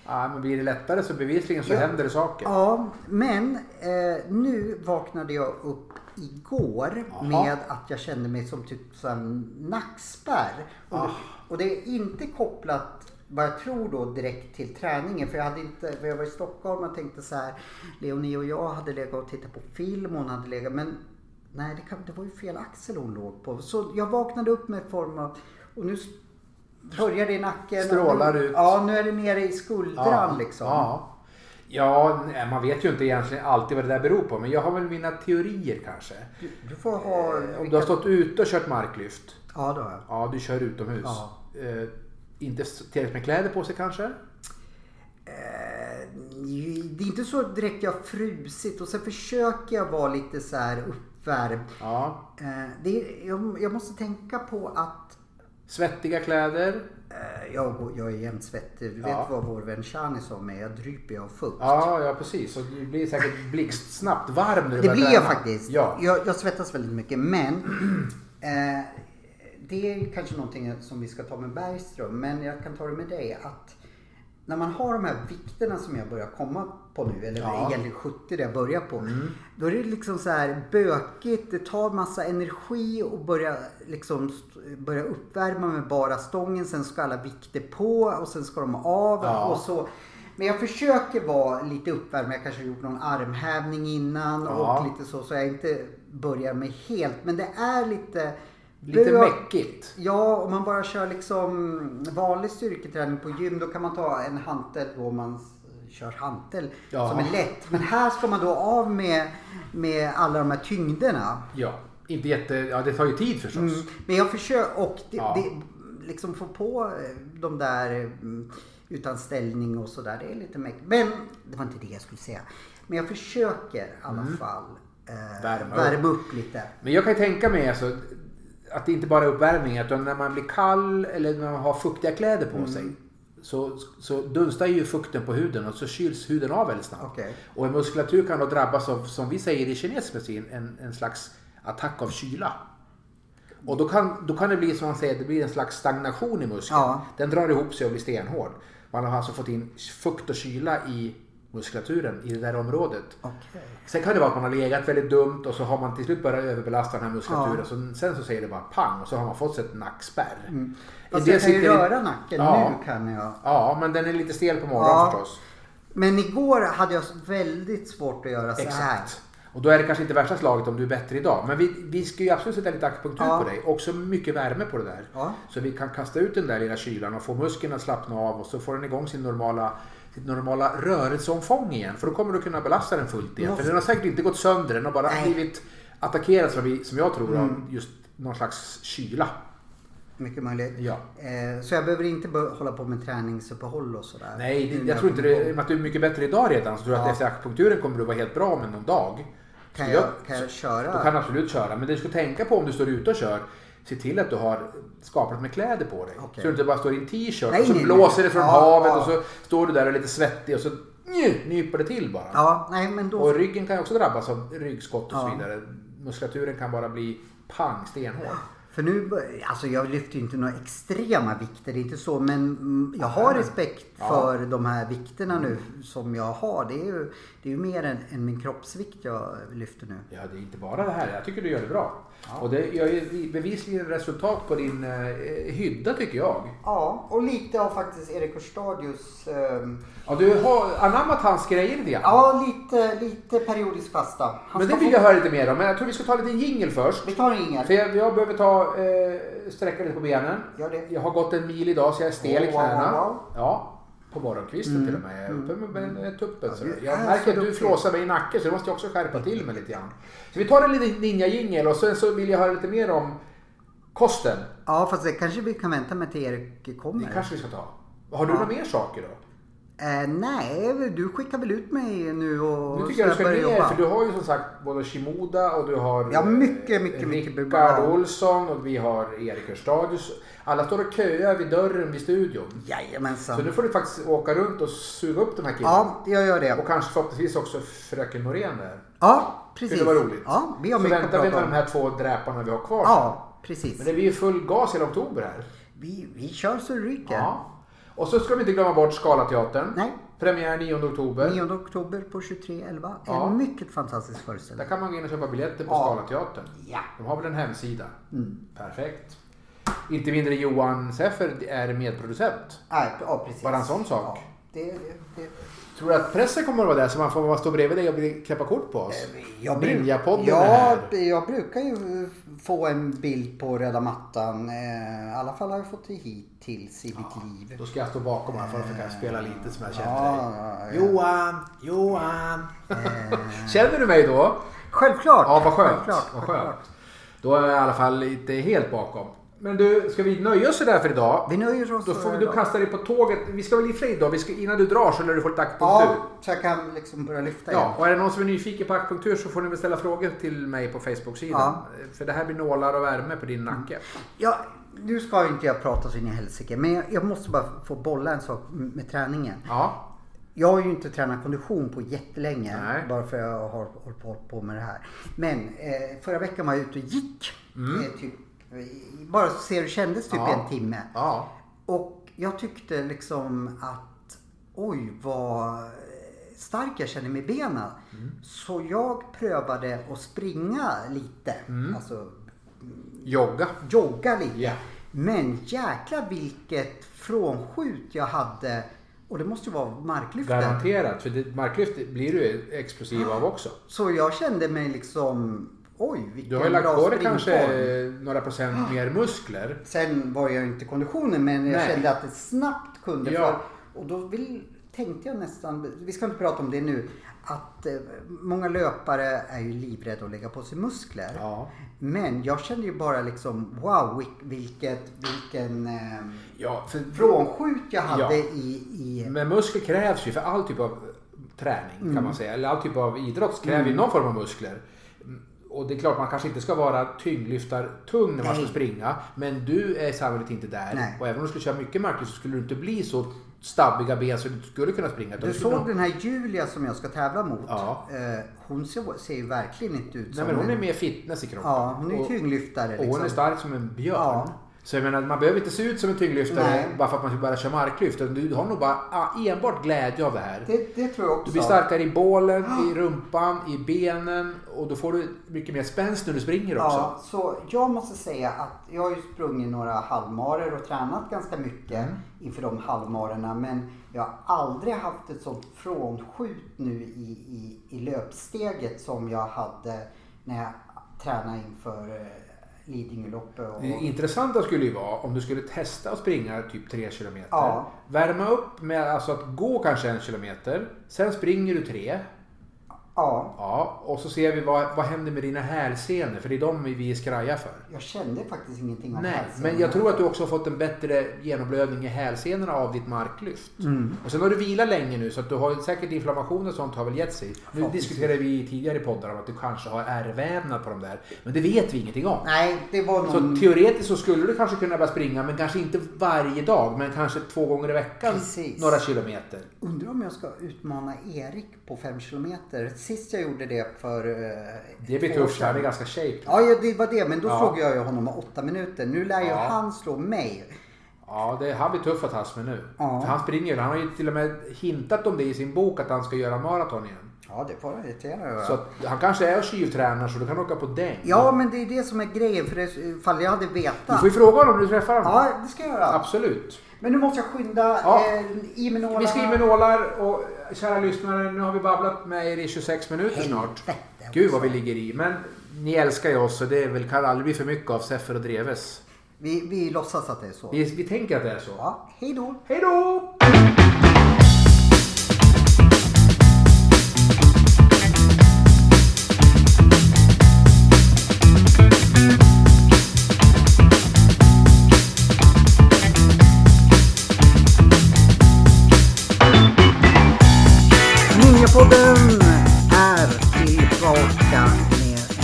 Ja, men blir det lättare så bevisligen så Ja. händer det saker. Ja, men eh, nu vaknade jag upp igår Jaha. med att jag kände mig som typ som en nackspärr. Och, Ah. och det är inte kopplat vad jag tror då direkt till träningen. För jag, hade inte, för jag var i Stockholm och tänkte så här. Leonie och jag hade legat och tittat på film. Hon hade legat, men nej det, kan, det var ju fel axel hon låg på. Så jag vaknade upp med form av, och nu s- börjar det i nacken. Strålar ut. Ja, nu är det nere i skuldran liksom. Ja, ja nej, man vet ju inte egentligen alltid vad det där beror på. Men jag har väl mina teorier kanske. Du, du får ha... Eh, Om du har stått ute och kört marklyft. Ja, det har jag. Ja, du kör utomhus. Ja. Eh, inte s- tillräckligt med kläder på sig kanske? Eh, Det är inte så direkt jag har frusit och sen försöker jag vara lite så här uppvärmd. Ja. Eh, Det är, jag, jag måste tänka på att Svettiga kläder? eh, jag, går- jag är jämt svettig. Du Ja. vet vad vår vän Shani sa om mig? Jag dryper ju av fukt. Ja, ja precis. Och du blir säkert blixtsnabbt varm när du Det börjar blir jag träna. faktiskt. Ja. Jag, jag svettas väldigt mycket men eh, det är kanske någonting som vi ska ta med Bergström men jag kan ta det med dig att när man har de här vikterna som jag börjar komma på nu eller Ja. Mm. egentligen 70 det jag börjar på. Då är det liksom så här bökigt, det tar massa energi och börja liksom st- börja uppvärma med bara stången. Sen ska alla vikter på och sen ska de av Ja. och så. Men jag försöker vara lite uppvärmd. Jag kanske har gjort någon armhävning innan Ja. och lite så. Så jag inte börjar med helt. Men det är lite... Lite bö- mäckigt. Ja, om man bara kör liksom vanlig styrketräning på gym då kan man ta en hantel då man s- kör hantel Ja. som är lätt. Men här ska man då av med, med alla de här tyngderna. Ja. Inte jätte... Ja, det tar ju tid förstås. Mm. Men jag försöker och det, Ja. det, liksom få på eh, de där mm, utan ställning och sådär. Det är lite mäktigt. Men det var inte det jag skulle säga. Men jag försöker i alla fall eh, Mm. Värma upp. värma upp lite. Men jag kan ju tänka mig alltså, att det inte bara är uppvärmning. Utan när man blir kall eller när man har fuktiga kläder Mm. på sig. Så, så dunstar ju fukten på huden och så kyls huden av väldigt snabbt. Okej. Och en muskulatur kan då drabbas av, som vi säger i kinesisk medicin, en, en slags attack av kyla. Och då kan, då kan det bli som man säger, det blir en slags stagnation i muskeln. Ja. Den drar ihop sig och blir stenhård. Man har alltså fått in fukt och kyla i muskulaturen i det där området. Okej. Sen kan det vara att man har legat väldigt dumt och så har man till slut börjat överbelasta den här muskulaturen. Ja. Så sen så säger det bara pang och så har man fått sig ett nackspärr. Mm. Fast En del jag kan ju sitter i- röra nacken. Ja. Nu kan jag. Ja, men den är lite stel på morgonen Ja. förstås. Men igår hade jag väldigt svårt att göra så här. Exakt. Och då är det kanske inte värsta slaget om du är bättre idag. Men vi, vi ska ju absolut sätta lite akupunktur Ja. på dig. Också mycket värme på det där. Ja. Så vi kan kasta ut den där lilla kylan och få muskeln att slappna av och så får den igång sin normala ditt normala rörelseomfång igen. För då kommer du kunna belasta den fullt igen. Ja. För den har säkert inte gått sönder. Den har bara Nej. Mm. blivit attackerad som, vi, som jag tror av just någon slags kyla. Mycket möjligt. Ja. Eh, så jag behöver inte bör- hålla på med träningsuppehåll och sådär. Nej, Nu det, när jag tror inte Mm, kommer det. I och igång. med att du är mycket bättre idag redan så tror jag Ja. att efter akupunkturen kommer du vara helt bra med någon dag. Kan Så jag, kan jag Du köra? kan absolut köra, men det du ska tänka på om du står ute och kör, se till att du har skaprat med kläder på dig. Okej. Så du inte bara står i en t-shirt Nej, och så nej, nej. blåser det från Ja, havet ja. och så står du där och är lite svettig och så nj, nyper det till bara. Ja, nej men då. Och ryggen kan ju också drabbas av ryggskott och Ja. så vidare. Muskulaturen kan bara bli pang, stenhård. För nu, bör- alltså jag lyfter ju inte några extrema vikter, det är inte så. Men mm, jag har Nej. respekt Ja. för de här vikterna nu som jag har. Det är ju, det är ju mer än, än min kroppsvikt jag lyfter nu. Ja, det är inte bara det här. Jag tycker du gör det bra. Och det gör ju bevisligen resultat på din eh, hydda tycker jag. Ja, och lite av faktiskt Erik Hörstadius. ehm, Ja, du har anammat hans grejer lite grann. ja, lite, lite periodisk fasta. Han Men det ska vill få- jag höra lite mer om. Men jag tror vi ska ta lite jingel först. Vi tar inget. För jag, jag behöver ta, eh, sträcka lite på benen. Gör det. Jag har gått en mil idag så jag är stel i Wow, wow, knäna. wow. Mm. Ja, på morgonkvisten till och med. Jag är uppe med ben- tuppen. Så Ja, du jag är så märker att du duktig. flåsar mig i nacken så det måste jag också skärpa till mig lite grann. Så vi tar en liten ninja-jingel och sen så vill jag höra lite mer om kosten. Ja, fast det kanske vi kan vänta med till Erik Det kommer. kanske vi ska ta. Har du några mer saker då? Eh, nej, du skickar väl ut mig nu och Nu så tycker jag du ska börjar ner för du har ju som sagt både Shimoda och du har Ja, eh, mycket, mycket, mycket Rickard bra. Olsson och vi har Erik Hörstadius. Alla står och köar vid dörren vid studion. Så Jajamensan. nu får du faktiskt åka runt och suga upp de här killarna. Ja, jag gör det. Och kanske förhoppningsvis också fröken Norén där. Ja, precis. Det var roligt. Ja, vi har så mycket att väntar vi prata med de om. här två dräparna vi har kvar. Ja, precis. Men det blir ju full gas hela oktober här. Vi, vi kör så det ryker. Ja. Och så ska vi inte glömma bort Scalateatern. Nej. Premiär 9 oktober. 9 oktober på 23.11. Ja. En mycket fantastisk Där föreställning. kan man gå in och köpa biljetter på Ja. Scalateatern. Ja. De har väl en hemsida? Mm. Perfekt. Inte mindre Johan Seffer är medproducent. Nej, ja, precis. Bara en sån sak. Ja, det, det, det. Tror du att pressen kommer att vara där så man får vara- stå bredvid dig och bli- knäppa kort på oss? Eh, Jag, Ninjapodden är ja, här. jag brukar ju få en bild på röda mattan. eh, I alla fall har jag fått det hittills i mitt liv. Då ska jag stå bakom här för att försöka spela lite som jag känner Ja, dig. ja, ja. Johan, Johan. känner du mig då? Självklart! Ja, vad skönt. Självklart, Vad självklart. skönt. Då är jag i alla fall inte helt bakom. Men du, ska vi nöja oss där för idag? Vi nöjer oss Då får för vi, du idag. kastar dig på tåget. Vi ska väl i och för sig idag, vi ska, innan du drar så lär du få lite akupunktur. Ja, så jag kan liksom börja lyfta igen. Ja, och är det någon som är nyfiken på akupunktur så får ni väl ställa frågor till mig på Facebook-sidan. Ja. Mm. För det här blir nålar och värme på din nacke. Ja, nu ska ju inte jag prata så in i helsike, men jag, jag måste bara få bolla en sak med träningen. Ja, Jag har ju inte tränat kondition på jättelänge, Nej. bara för jag har hållit på- hållit på med det här. Men eh, förra veckan var jag ute och gick, eh, typ, eh, bara så ser hur det kändes typ Mm. Ja. i en timme. ja. Och jag tyckte liksom att oj vad stark jag känner mig i benen. Mm. Så jag prövade att springa lite, Mm. alltså Jogga. jogga lite. Ja. Men jäkla vilket frånskjut jag hade. Och det måste ju vara marklyften. Garanterat, för det, marklyft blir du ju explosiv av också. Så jag kände mig liksom, oj vilken Du har ju lagt bra på dig springform. kanske eh, några procent mer muskler. Sen var jag ju inte i konditionen men jag Nej. kände att det snabbt kunde. Ja. För, och då vill, tänkte jag nästan, vi ska inte prata om det nu, att eh, många löpare är ju livrädda att lägga på sig muskler. Ja. Men jag kände ju bara liksom, wow vil- vilket, vilken ehm, Ja, för frånskjut jag hade Ja. i, i... Men muskler krävs ju för all typ av träning kan Mm. man säga. Eller all typ av idrott kräver ju någon form av muskler. Mm, Och det är klart man kanske inte ska vara tyngdlyftartung när man Nej. ska springa. Men du är sannolikt inte där. Nej. Och även om du skulle köra mycket marklyft så skulle du inte bli så stabbiga ben så du inte skulle kunna springa. utan Du skulle såg nog- den här Julia som jag ska tävla mot. Ja. Eh, hon ser, ser ju verkligen inte ut Nej som men hon en... är mer fitness i kroppen. Ja, hon är ju Och- tyngdlyftare liksom. Och hon är stark som en björn. Ja. Så jag menar, man behöver inte se ut som en tyngdlyftare Nej. bara för att man ska börja köra marklyft. Utan Du har nog bara ah, enbart glädje av det här. Det, det tror jag också. Du blir starkare i bålen, i rumpan, i benen och då får du mycket mer spänst när du springer också. Ja, så jag måste säga att jag har ju sprungit några halvmarer och tränat ganska Mm. mycket inför de halvmarerna. Men jag har aldrig haft ett sånt frånskjut nu i, i, i löpsteget som jag hade när jag tränade inför eh, Lidingöloppet. Och, Det intressanta skulle ju vara om du skulle testa att springa typ 3 kilometer. Ja. Värma upp med alltså att gå kanske en kilometer. Sen springer du tre. ja, Ja, och så ser vi vad, vad händer med dina hälsenor för det är de vi är skraja för. jag kände faktiskt ingenting om Nej, hälsan. men jag tror att du också har fått en bättre genomblödning i hälsenorna av ditt marklyft. Mm. Och sen har du vilat länge nu så att du har säkert inflammation och sånt har väl gett sig. Nu Förhoppningsvis. diskuterade vi tidigare i poddar om att du kanske har ärrvävnad på de där. Men det vet vi ingenting om. Nej, det var Så någon... teoretiskt så skulle du kanske kunna börja springa, men kanske inte varje dag, men kanske två gånger i veckan Precis. några kilometer. Undrar om jag ska utmana Erik på 5 kilometer. Sist jag gjorde det för eh, Det blir två år tufft, sedan. han är ganska shaped. Ja, ja, det var det. Men då Ja. slog jag ju honom med åtta minuter. Nu lär ju Ja. han slå mig. Ja, det, han blir tuff att tas med nu. Ja. För han springer ju, han har ju till och med hintat om det i sin bok att han ska göra maraton igen. Ja, det får han irritera över. Så att, han kanske är tjuvtränare så du kan åka på däng. Ja, men det är det som är grejen. För det, ifall jag hade Du vetat. får ju fråga honom om du träffar honom. Ja, det ska jag göra. Absolut. Men nu måste jag skynda Ja. eh, i med nålarna. Vi ska in med nålar och kära lyssnare, nu har vi babblat med er i 26 minuter snart. Helvete Gud vad vi också. ligger i. Men ni älskar ju oss så det är väl, kan aldrig bli för mycket av Seffer och Dreves. Vi, vi låtsas att det är så. Vi, vi tänker att det är så. Ja, hej då. Hej då! Ninjapodden är tillbaka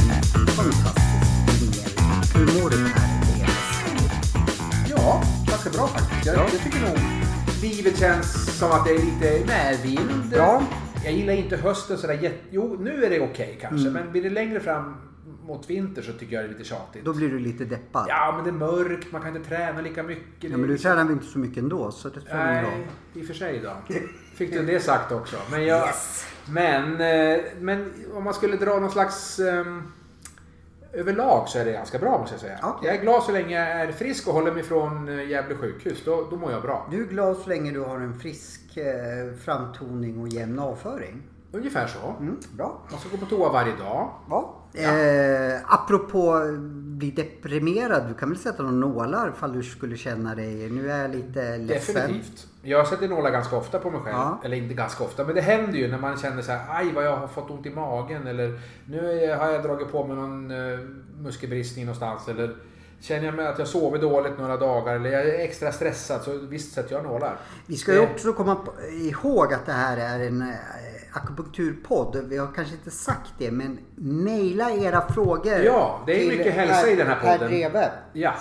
med en fantastisk del. Hur mår du här Ja, ganska bra faktiskt. Jag, jag tycker nog livet känns som att det är lite medvind. Ja. Jag gillar inte hösten sådär jätte... Jo, nu är det okej kanske. Men blir det längre fram mot vinter så tycker jag det är lite tjatigt. Då blir du lite deppad. Ja, Ja, men det är mörkt, man kan inte träna lika mycket. men du tränar väl inte så mycket ändå så det spelar Nej, ingen roll. i och för sig då. Fick du det sagt också. Men, jag, Yes. men, eh, men om man skulle dra någon slags... ehm, överlag så är det ganska bra måste jag säga. Okej. Jag är glad så länge jag är frisk och håller mig från eh, Gävle sjukhus. Då, då mår jag bra. Du är glad så länge du har en frisk eh, framtoning och jämn avföring. Ungefär så. Mm, bra. Man ska gå på toa varje dag. Va? Eh, apropå bli deprimerad, du kan väl sätta några nålar ifall du skulle känna dig, nu är jag lite ledsen. Definitivt. Jag sätter nålar ganska ofta på mig själv. Ja. Eller inte ganska ofta, men det händer ju när man känner så här, aj vad jag har fått ont i magen eller nu är- har jag dragit på mig någon eh, muskelbristning någonstans eller känner jag mig att jag sover dåligt några dagar eller jag är extra stressad så visst sätter jag nålar. Vi ska ju Det- också komma på- ihåg att det här är en eh, akupunkturpodd. Vi har kanske inte sagt det, men mejla era frågor. Ja, det är till mycket hälsa i den här podden. Per Reve. Ja.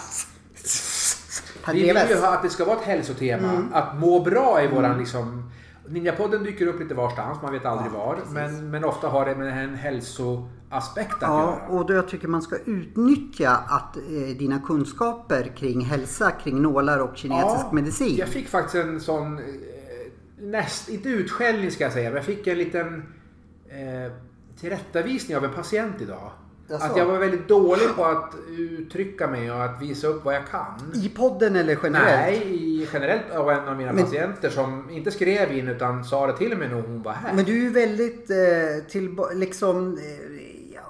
Per Vi vill ju Reves. ha att det ska vara ett hälsotema. Mm. Att må bra är våran liksom... Ninjapodden dyker upp lite varstans, man vet aldrig var. Men, men ofta har det med en hälsoaspekt att Ja, göra. och då jag tycker man ska utnyttja att eh, dina kunskaper kring hälsa, kring nålar och kinesisk medicin. Jag fick faktiskt en sån, eh, näst, inte utskällning ska jag säga, men jag fick en liten eh, tillrättavisning av en patient idag. Jaså? Att jag var väldigt dålig på att uttrycka mig och att visa upp vad jag kan. I podden eller generellt? Nej, i- generellt av en av mina Men- patienter som inte skrev in utan sa det till mig när hon var här. Men du är ju väldigt eh, till, liksom eh,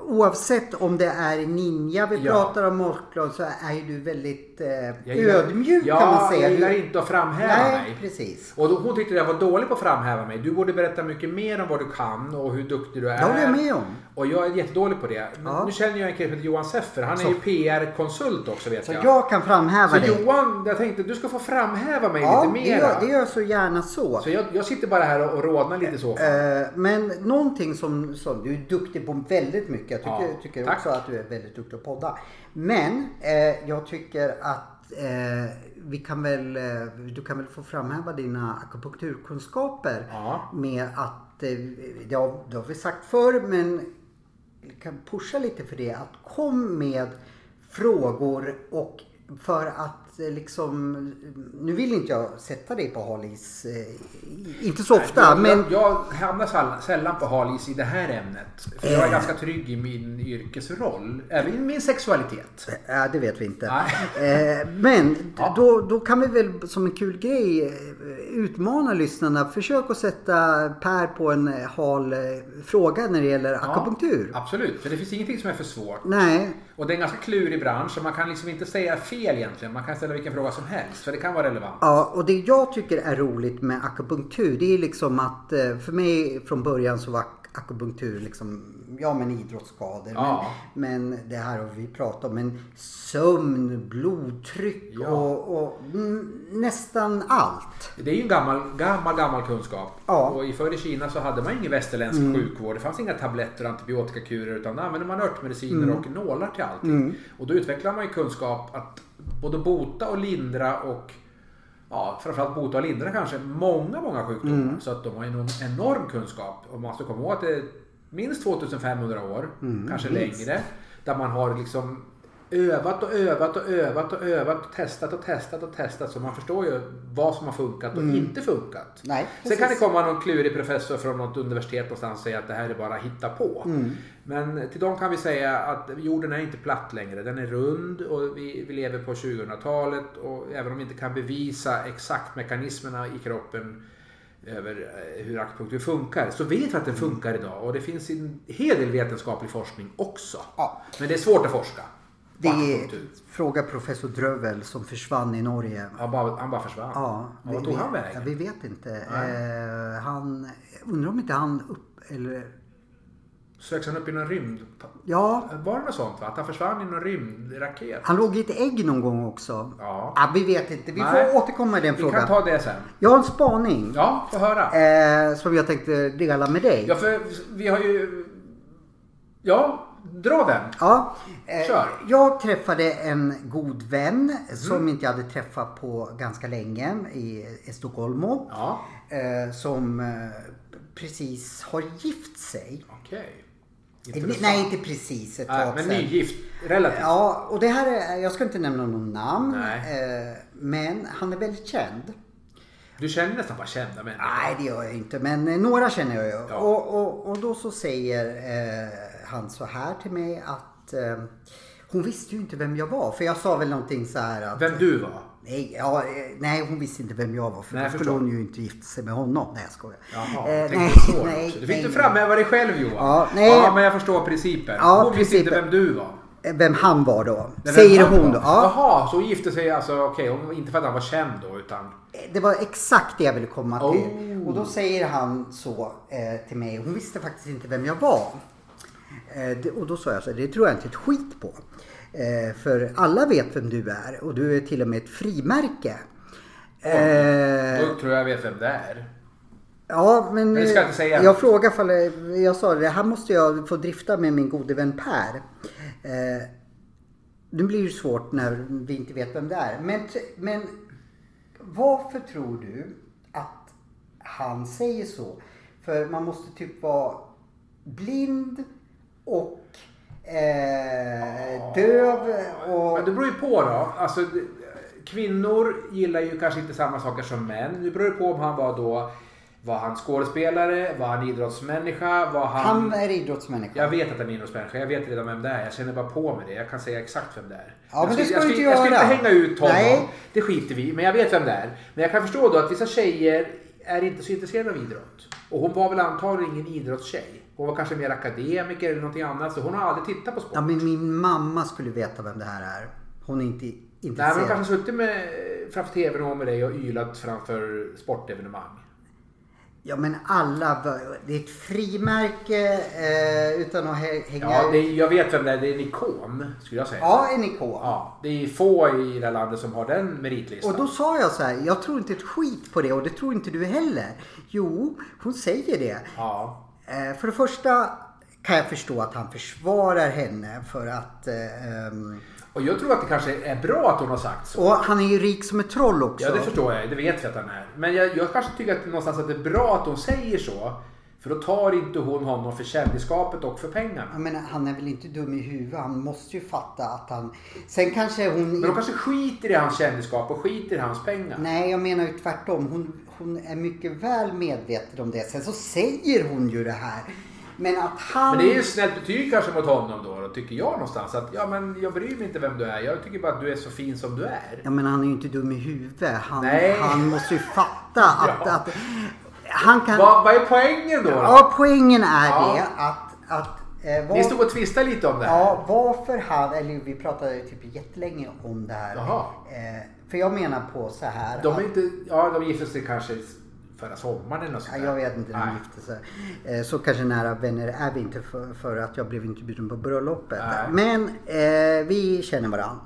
oavsett om det är ninja vi Ja. pratar om mörkblad så är ju du väldigt eh, Jag gillar- ödmjuk ja, kan man säga. Jag gillar du, inte att framhäva nej, mig. Eh, precis. Och då, hon tyckte jag var dålig på att framhäva mig. Du borde berätta mycket mer om vad du kan och hur duktig du är. Det håller jag med om. Och jag är jättedålig på det. Men Ja. Nu känner jag en kille som heter Johan Seffer. Han är Så. ju PR-konsult också vet Så jag. jag kan framhäva så dig. Johan, jag tänkte du ska få framhäva mig Ja, lite det mer. gör, det gör jag så gärna så. Så jag, jag sitter bara här och, och rodnar lite så. Eh, men någonting som, som du är duktig på väldigt mycket. Jag tycker, Ja, tycker tack. också att du är väldigt duktig på att podda. Men eh, jag tycker att eh, vi kan väl, eh, du kan väl få framhäva dina akupunkturkunskaper Ja. med att, eh, det, har, det har vi sagt förr, men vi kan pusha lite för det. Att kom med frågor och för att att eh, liksom... Nu vill inte jag sätta dig på halis. Eh, inte så ofta, jag, men... jag hamnar sall- sällan på halis i det här ämnet. För jag Eh. är ganska trygg i min yrkesroll. Även i min sexualitet. Ja, det vet vi inte. Nej. Eh, Men Ja. då, då kan vi väl som en kul grej eh, utmana lyssnarna. Försök att sätta Per på en eh, hal eh, fråga när det gäller akupunktur. Absolut, för det finns ingenting som är för svårt. Nej, Och det är en ganska klurig bransch så man kan liksom inte säga fel egentligen. Man kan ställa vilken fråga som helst för det kan vara relevant. Ja, och det jag tycker är roligt med akupunktur det är liksom att eh, för mig från början så var ak- akupunktur liksom, ja men idrottsskador. Ja. Men, men det här har vi pratat om. Men sömn, blodtryck Ja. och, och mm, nästan allt. Det är ju en gammal, gammal, gammal kunskap. Ja. Och i förr i Kina så hade man ingen västerländsk sjukvård. Det fanns inga tabletter och antibiotikakurer utan där använde man örtmediciner och nålar till allting. Och då utvecklade man ju kunskap att både bota och lindra och ja, framförallt bota och lindra kanske många, många sjukdomar. Så att de har en enorm kunskap. Och man ska komma ihåg att det är minst 2500 år, kanske längre, där man har liksom övat och övat och övat och övat och testat och testat och testat så man förstår ju vad som har funkat och inte funkat. Mm. Nej, Sen kan det precis. komma någon klurig professor från något universitet någonstans och säga att det här är bara hitta på. Mm. Men till dem kan vi säga att jorden är inte platt längre. Den är rund och vi, vi lever på 2000-talet och även om vi inte kan bevisa exakt mekanismerna i kroppen över eh, hur akupunktur funkar så vet vi att den Mm. funkar idag och det finns en hel del vetenskaplig forskning också. Ja. Men det är svårt att forska. Det på är, akupunktur. fråga professor Drövel som försvann i Norge. Han bara, han bara försvann. Ja, Och Vart tog han vet- ja, vägen? vi vet inte. Eh, han, undrar om inte han upp, eller, Söks han upp i någon rymd? ja, Var det något sånt? Va? Att han försvann i någon rymdraket? Han låg i ett ägg någon gång också. Ja. vi vet inte. Vi Nej. får återkomma i den Vi kan frågan. ta det sen. Jag har en spaning. Ja, få höra. Eh, som jag tänkte dela med dig. Ja, för vi har ju... Ja, dra den. Ja, eh, Kör. Mhm. jag träffade en god vän som inte jag hade träffat på ganska länge i Estocolmo. Ja, Eh, som eh, precis har gift sig. okej. Eh, Nej, inte precis. Ett Nej, tag men sedan. nygift. Relativt. Ja, och det här är, jag ska inte nämna någon namn. Nej. Eh, men han är väldigt känd. Du känner nästan bara kända människor. Nej, det gör jag inte. Men eh, några känner jag ju. Ja. Och, och, och då så säger eh, han så här till mig att eh, hon visste ju inte vem jag var. För jag sa väl någonting så här att... Vem du var. Nej, ja, eh, nej, hon visste inte vem jag var. För Nej, då jag skulle förstår. hon ju inte gifta sig med honom. Nej, jag skojar. Jaha, Eh, tänkte så också. Du fick du framhäva dig själv Johan. Ja, nej. ja, men jag förstår principen. Ja, Hon visste inte principen. vem du var. Eh, Vem han var då. Men vem säger han hon var. då. Ja, Jaha, så hon gifte sig alltså, okej, hon- inte för att han var känd då utan... det var exakt det jag ville komma till. Oh. Och då säger han så eh, till mig. Hon visste faktiskt inte vem jag var. Eh, det- Och då sa jag så här, det tror jag inte ett skit på. Eh, För alla vet vem du är och du är till och med ett frimärke. Eh, Då tror jag jag vet vem det är. ja, men Men vi ska inte säga. jag frågade ifall jag sa det här måste jag få drifta med min gode vän Per. Eh, nu blir det ju svårt när vi inte vet vem det är. Men, men varför tror du att han säger så? För man måste typ vara blind och eh, döv och... Men det beror ju på då. Alltså, det- kvinnor gillar ju kanske inte samma saker som män. Det beror ju på om han var då... Var han skådespelare? Var han idrottsmänniska? Var han... Han är idrottsmänniska. Jag vet att han är idrottsmänniska. Jag vet redan vem det är. Jag känner bara på mig det. Jag kan säga exakt vem det är. Ja, men jag det ska jag, du skulle, inte jag skulle göra. inte hänga ut honom. Nej. Det skiter vi i, Men jag vet vem det är. Men jag kan förstå då att vissa tjejer är inte så intresserade av idrott. Och hon var väl antagligen ingen idrottstjej. Hon var kanske mer akademiker eller någonting annat. Så hon har aldrig tittat på sport. Ja, men min mamma skulle veta vem det här är. Hon är inte Nej, men intresserad. de kanske har suttit med, framför tvn och med dig och ylat framför sportevenemang. Ja, men alla. bör- Det är ett frimärke eh, utan att hä- hänga Ja, det ut. är, jag vet vem det är. Det är en ikon, skulle jag säga. Ja, en ikon. Ja, det är få i det här landet som har den meritlistan. Och då sa jag så här, jag tror inte ett skit på det och det tror inte du heller. Jo, hon säger det. Ja. Eh, för det första kan jag förstå att han försvarar henne för att... Eh, ehm, Och jag tror att det kanske är bra att hon har sagt så. och han är ju rik som ett troll också. Ja, det förstår jag. Det vet jag att han är. Men jag, jag kanske tycker att någonstans att det är bra att hon säger så. För då tar inte hon honom för kändisskapet och för pengarna. Jag menar, han är väl inte dum i huvudet. Han måste ju fatta att han... Sen kanske hon... Men de kanske skiter i hans kändisskap och skiter i hans pengar. Nej, jag menar ju tvärtom. Hon, hon är mycket väl medveten om det. Sen så säger hon ju det här. Men att han... Men det är ju ett snällt betyg kanske mot honom då, då, tycker jag någonstans. Att ja, men jag bryr mig inte vem du är. Jag tycker bara att du är så fin som du är. Ja men han är ju inte dum i huvudet. Han, Nej. han måste ju fatta att... Ja. att han kan... Vad, vad är poängen då? då? Ja, poängen är Ja. det att... att eh, var- Ni stod och tvistade lite om det här. Ja, varför han... Eller vi pratade ju typ jättelänge om det här. Jaha. Eh, för jag menar på så här. De att- är inte... Ja, de gifte sig kanske förra sommaren eller något sånt Ja, där. jag vet inte när de Nej. gifte sig. Eh, Så kanske nära vänner är vi inte för, för att jag blev inte bjuden på bröllopet. Nej. Men eh, vi känner varandra.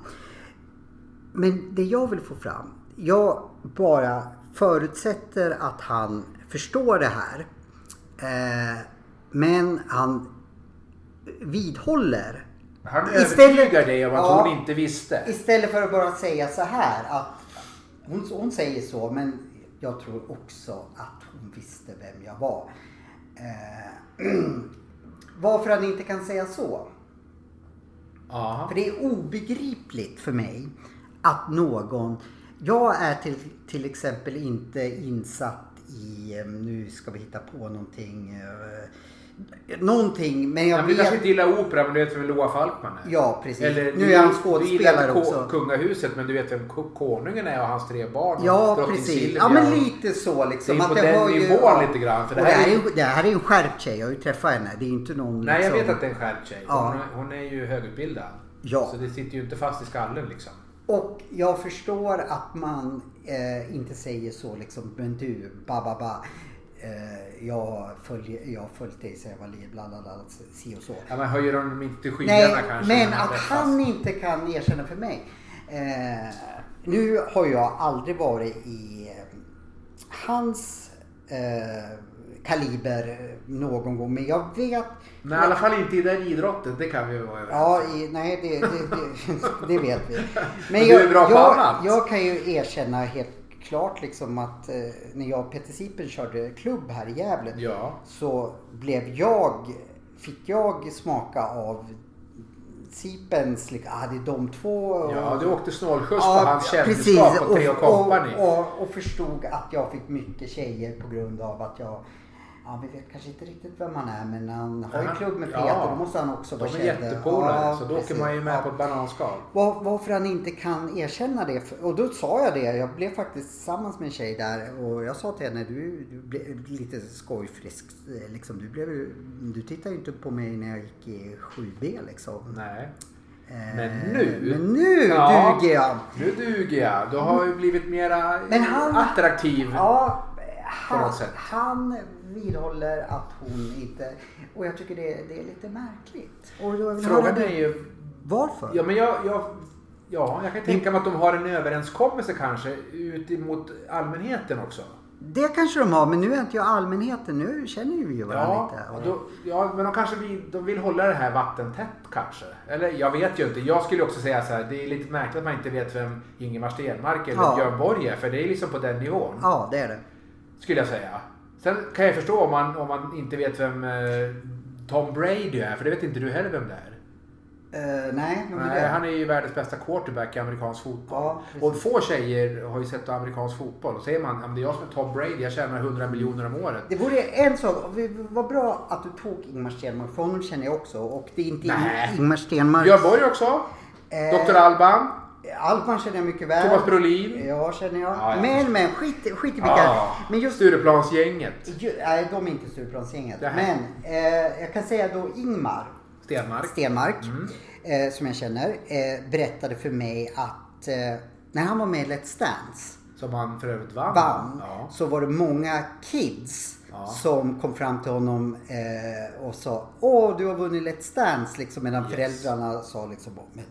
Men det jag vill få fram. Jag bara förutsätter att han förstår det här. Eh, men han vidhåller Han Istället- övertygar dig om att Ja. hon inte visste. Istället för att bara säga så här att hon, hon säger så men jag tror också att hon visste vem jag var. Eh, varför han inte kan säga så? Ja. För det är obegripligt för mig att någon... Jag är till, till exempel inte insatt i, eh, nu ska vi hitta på någonting, eh, någonting men Nej, jag men du vet... kanske inte gillar opera, men du vet vem Loa Falkman är? Ja, precis. Eller, nu du- är han Du gillar skådespelare inte ko- också. kungahuset, men du vet vem ko- konungen är och hans tre barn. och Ja, drottning precis. Silvia Ja, men och- lite så liksom. Det är på den hör ju- nivån ja. lite grann, för Och det här är ju- är ju- det här är ju en skärpt tjej. Jag har ju träffat henne. Det är ju inte någon Nej, jag liksom... vet att det är en skärpt tjej. Ja. Hon, hon är ju högutbildad. Ja. Så det sitter ju inte fast i skallen liksom. Och jag förstår att man eh, inte säger så liksom. Men du, ba ba ba. Eh, jag, följer, jag har följt dig sedan jag var liten. Bla bla bla. Si och så. Ja, men höjer de inte skyarna Nej, kanske? när men de att träffas? han inte kan erkänna för mig. Eh, nu har jag aldrig varit i eh, hans eh, kaliber någon gång, men jag vet... Nej, i alla fall inte i den idrotten. Det kan vi ju vara överens Ja, i, nej, det, det, det, det vet vi. Men du är bra på jag, annat. jag kan ju erkänna helt klart liksom att eh, när jag och Peter Sipen körde klubb här i Gävle Ja. så blev jag, fick jag smaka av Sipens, liksom, ah, det är de två. och- Ja, du åkte snålskjuts Ja, på hans precis. kändisskap och Theo och, Company. och, och förstod att jag fick mycket tjejer på grund av att jag Ja, vi vet kanske inte riktigt vem han är men han har ju Ja, klubb med ja. Peter. Då måste han också De vara är känd. jättepolare, Ja, så då precis. åker man ju med Ja. på ett bananskal. Var, varför han inte kan erkänna det. för- Och då sa jag det. Jag blev faktiskt tillsammans med en tjej där och jag sa till henne, du, du blev lite skojfrisk. eh, Liksom, du, blev, ju- du tittade ju inte på mig när jag gick i 7B liksom. Nej. Eh, Men nu- Men nu Ja. duger jag. Nu duger jag. Du har ju blivit mera Men han- attraktiv. Ja, På han, något sätt. han vidhåller att hon inte... Och jag tycker det, det är lite märkligt. Och då vill jag Frågan höra är ju varför. Ja, men jag, jag, ja, jag kan tänka mig att de har en överenskommelse kanske ut emot allmänheten också. Det kanske de har, men nu är inte jag allmänheten. Nu känner ju vi varandra Ja, lite. och då, ja, men de kanske vill, de vill hålla det här vattentätt kanske. Eller jag vet ju inte. Jag skulle också säga så här, det är lite märkligt att man inte vet vem Ingemar Stenmark eller Ja. Björn Borg är, för det är liksom på den nivån. Ja, det är det. Skulle jag säga. Sen kan jag förstå om man, om man inte vet vem eh, Tom Brady är, för det vet inte du heller vem det är. Eh, nej, men Nej, det. han är ju världens bästa quarterback i amerikansk fotboll. Ja, precis. och få tjejer har ju sett amerikansk fotboll. Och säger man "Ja, men det är jag som är Tom Brady, jag tjänar 100 miljoner om året. Det vore en sak, och vi- vad bra att du tog Ingmar Stenmark, för honom känner jag också. Och det är inte Nej. Ing- Ingmar Stenmark. Björn Borg också. Eh, Dr. Alban. Alban känner jag mycket väl. Thomas Brolin. Ah, Ja, känner jag. Ja, ja. Men, men skit, skit i Äh. vilka. Ja, Men just Stureplansgänget. Ju, nej, de är inte Stureplansgänget. Det här. Men eh, jag kan säga då Ingmar Stenmark. Mm. Stenmark, eh, som jag känner, eh, berättade för mig att eh, när han var med i Let's Dance Som han för övrigt vann. vann Ja. så var det många kids Ja. som kom fram till honom eh, och sa Åh, du har vunnit Let's Dance, liksom, medan Yes. föräldrarna sa liksom, men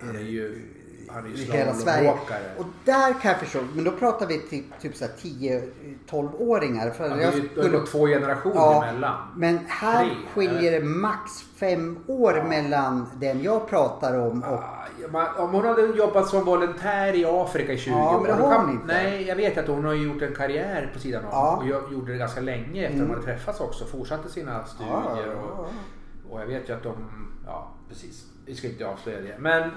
Han är ju Han är ju i hela Sverige. slalomåkare. Och där kan jag förstå. Men då pratar vi typ, typ så här 10-12-åringar. För Ja, jag Det är ju det skulle- går två generationer Ja, emellan. Men här Tre, skiljer det max fem år mellan den jag pratar om och... Ah, man- Om hon hade jobbat som volontär i Afrika i 20 Ja, år. men det då har kan- hon inte. Nej, jag vet att hon har gjort en karriär på sidan av. Ja. Mm. Och jag gjorde det ganska länge efter att de hade träffats också. Fortsatte sina studier. Ja, ja, Och, ja. och jag vet ju att de... Ja, precis. Vi ska inte avslöja det. Men eh,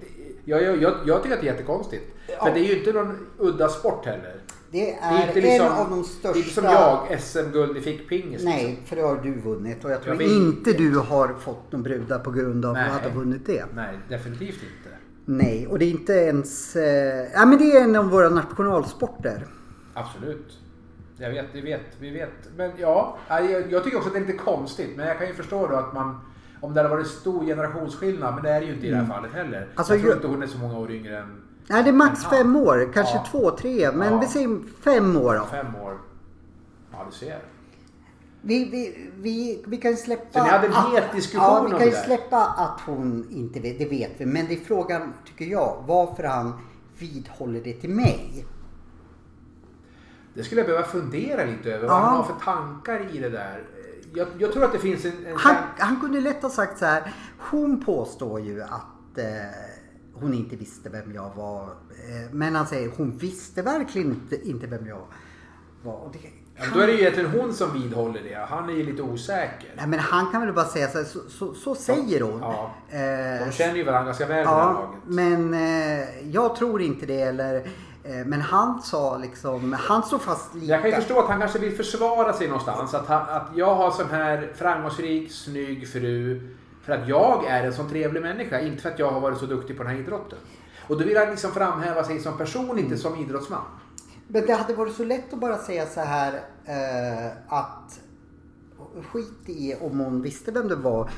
det- jag, jag, jag, jag tycker att det är jättekonstigt. Ja. För det är ju inte någon udda sport heller. Det Det är är inte liksom, en av de det är största... inte som jag, SM-guld i fickpingis. liksom. Nej, för det har du vunnit och jag tror Jag vet. inte du har fått någon bruda på grund av Nej. att du har vunnit det. Nej, definitivt inte. Nej, och det är inte ens... Eh, ja, men det är en av våra nationalsporter. Absolut. Jag vet, vi vet, vi vet. Men ja, nej, jag, jag tycker också att det är lite konstigt. Men jag kan ju förstå då att man, om det hade varit stor generationsskillnad, men det är det ju inte i det här fallet heller. Alltså, jag tror ju- inte hon är så många år yngre än Nej, det är max Ja. fem år. Kanske Ja. två, tre. Men Ja. vi säger fem år då. fem år. Ja, du ser. Vi, vi, vi, vi kan ju släppa... Så ni hade en att- het diskussion Ja, vi om kan ju det där. släppa att hon inte vet. Det vet vi. Men det är frågan, tycker jag, varför han vidhåller det till mig. Det skulle jag behöva fundera lite över. Ja. Vad han har för tankar i det där. Jag, jag tror att det finns en... en Han, han kunde lätt ha sagt så här. Hon påstår ju att eh, hon inte visste vem jag var. Eh, men han säger hon visste verkligen inte, inte vem jag var. Och det, Ja, men då är det ju egentligen hon som vidhåller det. Han är ju lite osäker. Nej men han kan väl bara säga så här, så, så, så säger hon. Ja. Eh, De känner ju varandra ganska väl i det här ja, laget. men eh, jag tror inte det eller eh, men han sa liksom, han står fast lika. Jag kan ju förstå att han kanske vill försvara sig någonstans. Att, han, att jag har sån här framgångsrik, snygg fru för att jag är en sån trevlig människa. Inte för att jag har varit så duktig på den här idrotten. Och då vill han liksom framhäva sig som person, inte som idrottsman. Men det hade varit så lätt att bara säga så här eh, att skit i om hon visste vem det var.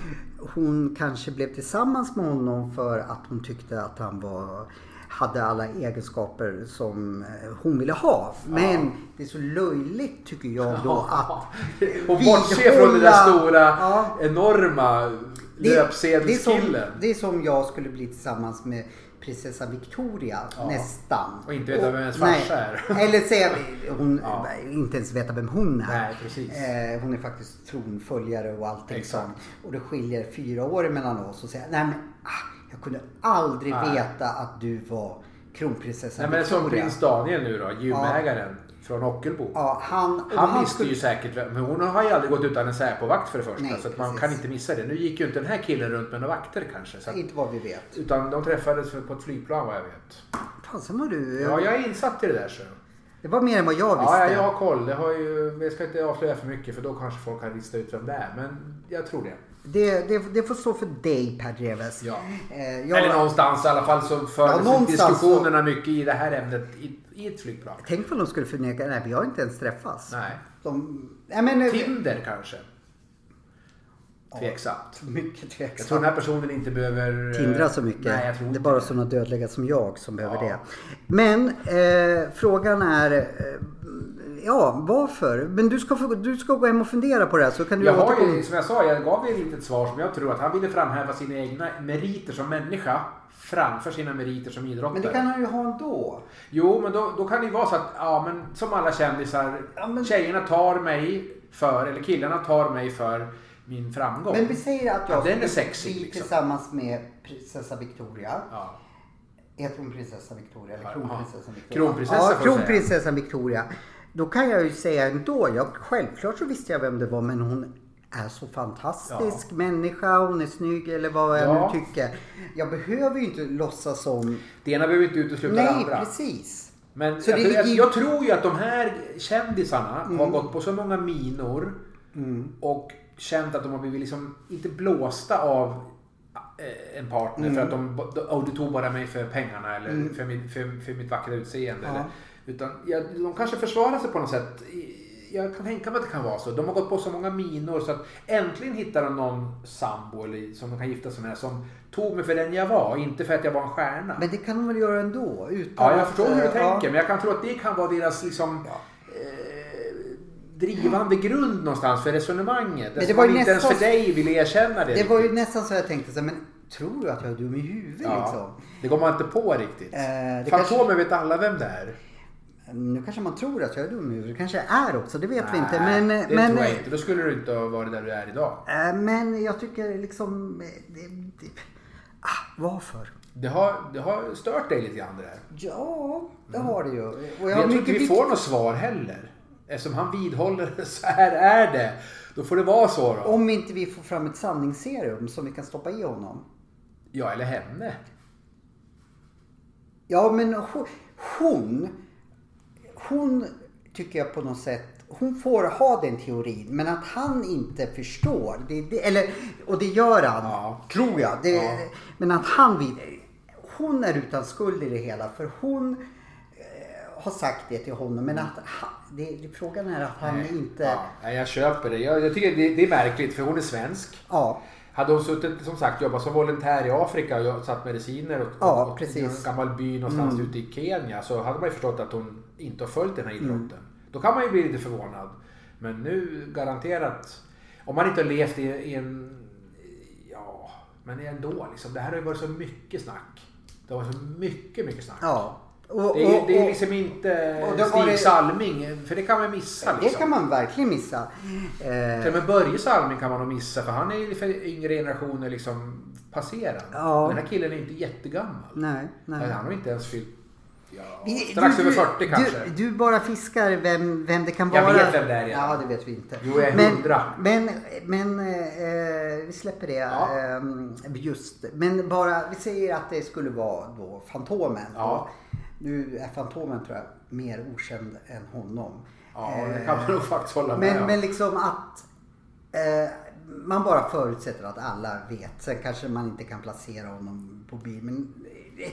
Hon kanske blev tillsammans med honom för att hon tyckte att han var hade alla egenskaper som eh, hon ville ha. Men det är så löjligt tycker jag då att Och bortse från den där vidhålla- stora, Ja. enorma Det är, löpsedelskillen. som, det är som jag skulle bli tillsammans med prinsessa Victoria, Ja. nästan. Och inte veta vem hennes nej. farsa är. Eller säga, hon, Ja. inte ens veta vem hon är. Nej, precis. Eh, hon är faktiskt tronföljare och allting Exakt. sånt. Och det skiljer fyra år mellan oss och säga, nej men ah, jag kunde aldrig Nej. veta att du var kronprinsessa Nej, men som Victoria. prins Daniel nu då, gymägaren från Ockelbo. Ja, han, och Han visste ju säkert vem, men hon har ju aldrig gått utan en Säpo-vakt för det första. Nej, så att man precis. kan inte missa det. Nu gick ju inte den här killen runt med några vakter kanske. Så att, Inte vad vi vet. utan de träffades på ett flygplan vad jag vet. Fan, sen var du... Ja, jag är insatt i det där så. Det var mer än vad jag visste. Ja, ja, jag har koll. Jag, har ju, jag ska inte avslöja för mycket för då kanske folk kan lista ut vem det är. Men jag tror det. Det, det, det får stå för dig Per Dreves. Ja. Eh, jag, Eller någonstans i alla fall så Ja, fördes någonstans diskussionerna mycket i det här ämnet i, i ett flygplan. Tänk om de skulle förneka, nej vi har inte ens träffats. Nej. De, nej men, eh, Tinder kanske. Tveksamt. mycket Jag tror tveksamt. den här personen inte behöver... eh, Tindra så mycket. Nej, jag tror det inte är bara sådana dödliga som jag som behöver Ja. det. Men eh, frågan är, eh, ja varför? Men du ska, få, du ska gå hem och fundera på det här så kan du Jag har återkomma. ju, som jag sa, jag gav ju ett litet svar som jag tror att han ville framhäva sina egna meriter som människa framför sina meriter som Men idrottare. det kan han ju ha ändå. Jo, men då, då kan det ju vara så att, ja men som alla kändisar, Ja, men- tjejerna tar mig för, eller killarna tar mig för min framgång. Men vi säger att jag Ja, den är skulle sexig, bli liksom. tillsammans med prinsessa Victoria. Ja. Heter hon prinsessan Victoria eller Ja, kronprinsessan ja. Victoria? Kronprinsessa ja, får jag säga. kronprinsessan Victoria. Då kan jag ju säga ändå, jag, självklart så visste jag vem det var men hon är så fantastisk människa, hon är snygg eller vad jag Ja. nu tycker. Jag behöver ju inte låtsas som... Det ena behöver inte utesluta det Nej, andra. precis. Men Så jag, det Mm. tror, jag, ligger- jag tror ju att de här kändisarna har gått på så många minor Mm. och känt att de har blivit liksom, inte blåsta av eh, en partner Mm. för att de, oh, du tog bara mig för pengarna eller för, mitt, för, för mitt vackra utseende. Eller, utan ja, de kanske försvarar sig på något sätt. I- Jag kan tänka mig att det kan vara så. De har gått på så många minor så att äntligen hittar de någon sambo eller, som de kan gifta sig med som tog mig för den jag var, inte för att jag var en stjärna. Men det kan hon väl göra ändå? Utan Ja, jag förstår hur du eh, ja. tänker, men jag kan tro att det kan vara deras liksom, eh, drivande grund någonstans för resonemanget. Men det det var var ju inte ens nästan- för dig vill erkänna det. Det var ju nästan så jag tänkte så här, men tror du att jag är dum i huvudet Ja. liksom? Det går man inte på riktigt. Eh, det kanske- Fantomen vet alla vem det är. Nu kanske man tror att jag är dum i huvudet, kanske jag är också, det vet vi inte. Nej, Men, det men, tror jag inte. Då skulle du inte ha varit där du är idag. eh, men jag tycker liksom... eh, Det, det, ah, varför? Det har, det har stört dig lite grann det där. Ja, det har det ju. Och Men har jag tror inte vi mycket får något svar heller. Eftersom han vidhåller så här är det. Då får det vara så då. Om inte vi får fram ett sanningsserum som vi kan stoppa i honom. Ja, eller henne. Ja, men ho- hon... Hon tycker jag på något sätt... Hon får ha den teorin, men att han inte förstår. Det, det, eller, och det gör han, Ja. tror jag. Det, Ja. Men att han... Vid, hon är utan skuld i det hela, för hon eh, har sagt det till honom. Men att han, det, det, frågan är att han inte... Ja, Mm. nej, jag köper det. Jag, jag tycker det, det är märkligt för hon är svensk. ja. Hade hon suttit som sagt jobbat som volontär i Afrika och jag- satt mediciner och, Ja, och, precis. Mm. i en gammal by någonstans ute i Kenya så hade man ju förstått att hon inte har följt den här idrotten. Då kan man ju bli lite förvånad. Men nu garanterat, om man inte har levt i, i en, ja, men ändå liksom. Det här har ju varit så mycket snack. Det har varit så mycket, mycket snack. ja. Och, Det, är, och- det är och- liksom inte och det har Stig varit- Salming, för det kan man missa. Liksom. det kan man verkligen missa. Eh, Till och med Börje Salming kan man nog missa för han är ju för yngre generationer liksom passerad. Ja. Den här killen är ju inte jättegammal. nej, nej. Eller Han har inte ens fyllt... Ja, Vi- strax du- över du- 40 kanske. Du, du bara fiskar vem, vem det kan Jag vara. vet vem det är, ja. Ja, det vet vi inte. Jo, jag är men, hundra. Men, men eh, vi släpper det. Ja. ehm, just. Men bara, vi säger att det skulle vara då Fantomen. Ja. Nu är Fantomen tror jag mer okänd än honom. ja, det Eh, kan man nog faktiskt hålla med men, om. men liksom att eh, man bara förutsätter att alla vet. Sen kanske man inte kan placera honom på bil. Men eh,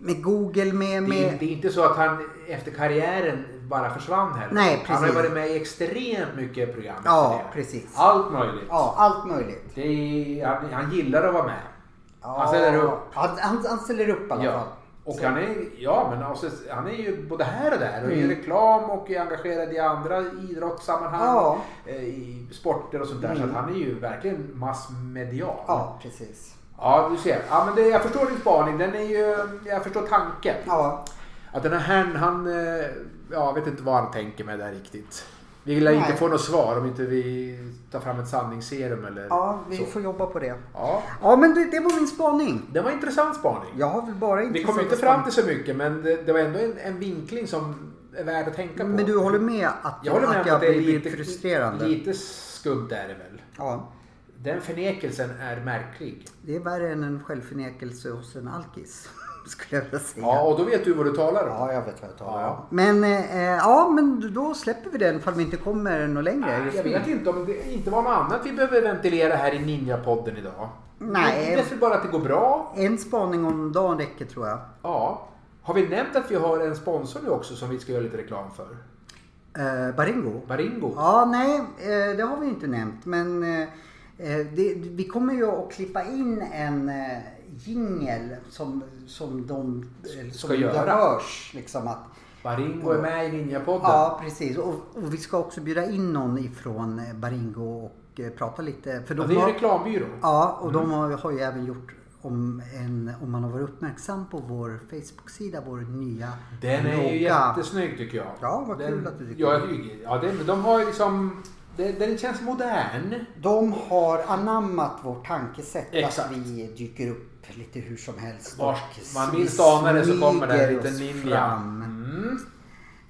med Google, med... det, är, med det är inte så att han efter karriären bara försvann heller. Nej, han har ju precis. varit med i extremt mycket program. efter Ja, det. precis. Allt möjligt. Ja, allt möjligt. Det är, han, han gillar att vara med. Ja. Han ställer upp. Han, han, han ställer upp i alla Ja. fall. Och han är, ja, men alltså, han är ju både här och där. Och i Mm. reklam och är engagerad i andra idrottssammanhang. Ja. Mm. eh, I sporter och sånt där. Så att han är ju verkligen massmedial. Ja, precis. Ja, du ser. Ja, men det, jag förstår din spaning. Den är ju, jag förstår tanken. Ja, Att den här herrn, han... eh, Ja, jag vet inte vad han tänker med där riktigt. Vi vill inte Nej. få något svar om inte vi tar fram ett sanningsserum eller ja vi så. får jobba på det. Ja, Ja, men det, det var min spaning. det var en intressant spaning. Jag har väl bara Vi intressanta kom ju inte spaningar. fram till så mycket men det, det var ändå en, en vinkling som är värd att tänka på. Men du håller med att jag håller med att om jag att det är blir lite frustrerande? Lite skumt är det väl. Ja, Den förnekelsen är märklig. det är värre än en självförnekelse hos en alkis. Skulle jag vilja säga. Ja, och då vet du vad du talar om. Ja, jag vet vad jag talar Ja. om. Men, eh, ja, men då släpper vi den ifall vi inte kommer något längre. Jag vet inte om det inte var något annat vi behöver ventilera här i Ninja-podden idag. Nej. Det är väl bara att det går bra. En spaning om dagen räcker tror jag. Ja. Har vi nämnt att vi har en sponsor nu också som vi ska göra lite reklam för? Eh, Baringo. Baringo. Ja, nej, eh, det har vi inte nämnt. Men eh, eh, det, vi kommer ju att klippa in en eh, jingel som, som de eh, som Ska göra. det hörs. Liksom att, Baringo är med i Ninja-podden. ja, precis. Och, och vi ska också bjuda in någon ifrån eh, Baringo och eh, prata lite. För Ja, de det är Mm. en har, reklambyrå. ja, och de har, har ju även gjort om, en, om man har varit uppmärksam på vår Facebook-sida, vår nya Den är ju logga. jättesnygg tycker jag. Ja, vad den, kul att du tycker ja, jag tycker- ja, den, de har ju liksom... det- Den känns modern. De har anammat vårt tankesätt Exakt. att vi dyker upp lite hur som helst. Vars och man vi minst anar det så smyger kommer det en oss liten ninja. fram. Mm.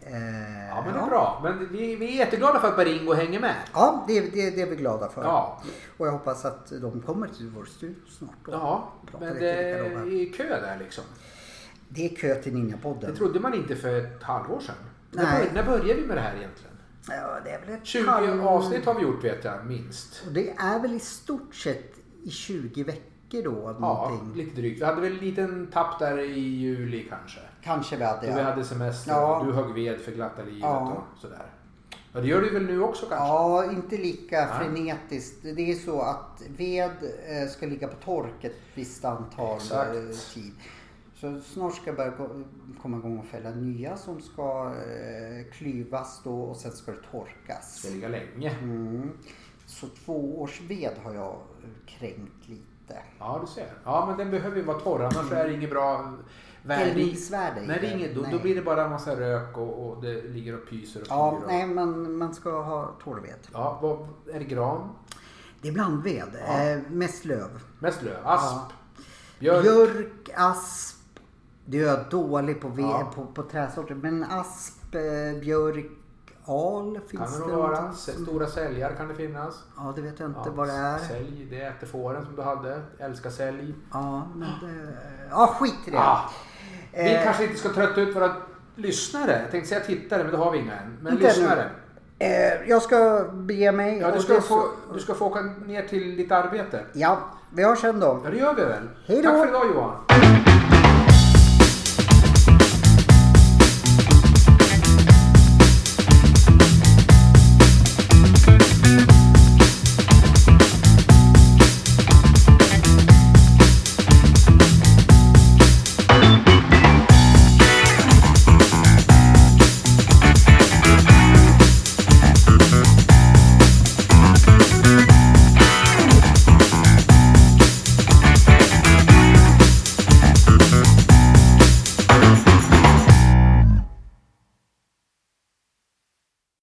Eh, Ja, men det är bra. Men vi, vi är jätteglada för att Baringo hänger med. Ja, det, det, det är vi glada för. Ja, Och jag hoppas att de kommer till vår studio snart. och ja pratar men lite det vilka de är. är kö där liksom. det är kö till Det Ninjapodden. trodde man inte för ett halvår sedan. När, Nej. bör, när började vi med det här egentligen? Ja, det är väl ett 20 halv- avsnitt har vi gjort vet jag, minst. Och Det är väl i stort sett i 20 veckor då. Ja, Någonting. lite drygt. Vi hade väl en liten tapp där i juli kanske. Kanske vi Du hade. ja. hade semester, Ja. du högg ved för glatta livet Ja. och sådär. Ja, det gör du väl nu också kanske? Ja, inte lika Nej. frenetiskt. Det är så att ved eh, ska ligga på tork ett visst antal Exakt. eh, tid. Så snart ska jag börja gå- komma igång och fälla nya som ska eh, klyvas då och sen ska det torkas. Det ska ligga länge. Mm. Så två års ved har jag eh, kränkt lite. lite. Ja, du ser. Ja, men den behöver ju vara torr, annars Mm. är det inget bra Tändningsvärde i Nej, det är den, inget, då, då nej. blir det bara en massa rök och, och det ligger och pyser och Ja, pyr och- nej, man, man ska ha torrved. ja, vad, är det gran? Det är blandved. Ja. Eh, mest löv. Mest löv? Asp? Ja. Björk? Björk, asp. Det är jag dålig på, ve- Ja. på, på träsorter. Men asp, eh, björk, Kan al det finns nog det. vara. något? Stora säljar kan det finnas. Ja, det vet jag inte Ja, vad det är. Sälj, det äter fåren som du hade. Älskar sälj. Ja, men det... Ja, skit i det. Ah, vi Eh, kanske inte ska trötta ut våra lyssnare. Jag tänkte säga tittare, men det har vi inga än. Men Inte ännu. lyssnare. Eh, jag ska bege mig. Ja, och du, ska det- få, du ska få åka ner till ditt arbete. Ja, vi hörs sen då. Ja, det gör vi väl. Hej då. Tack för idag Johan.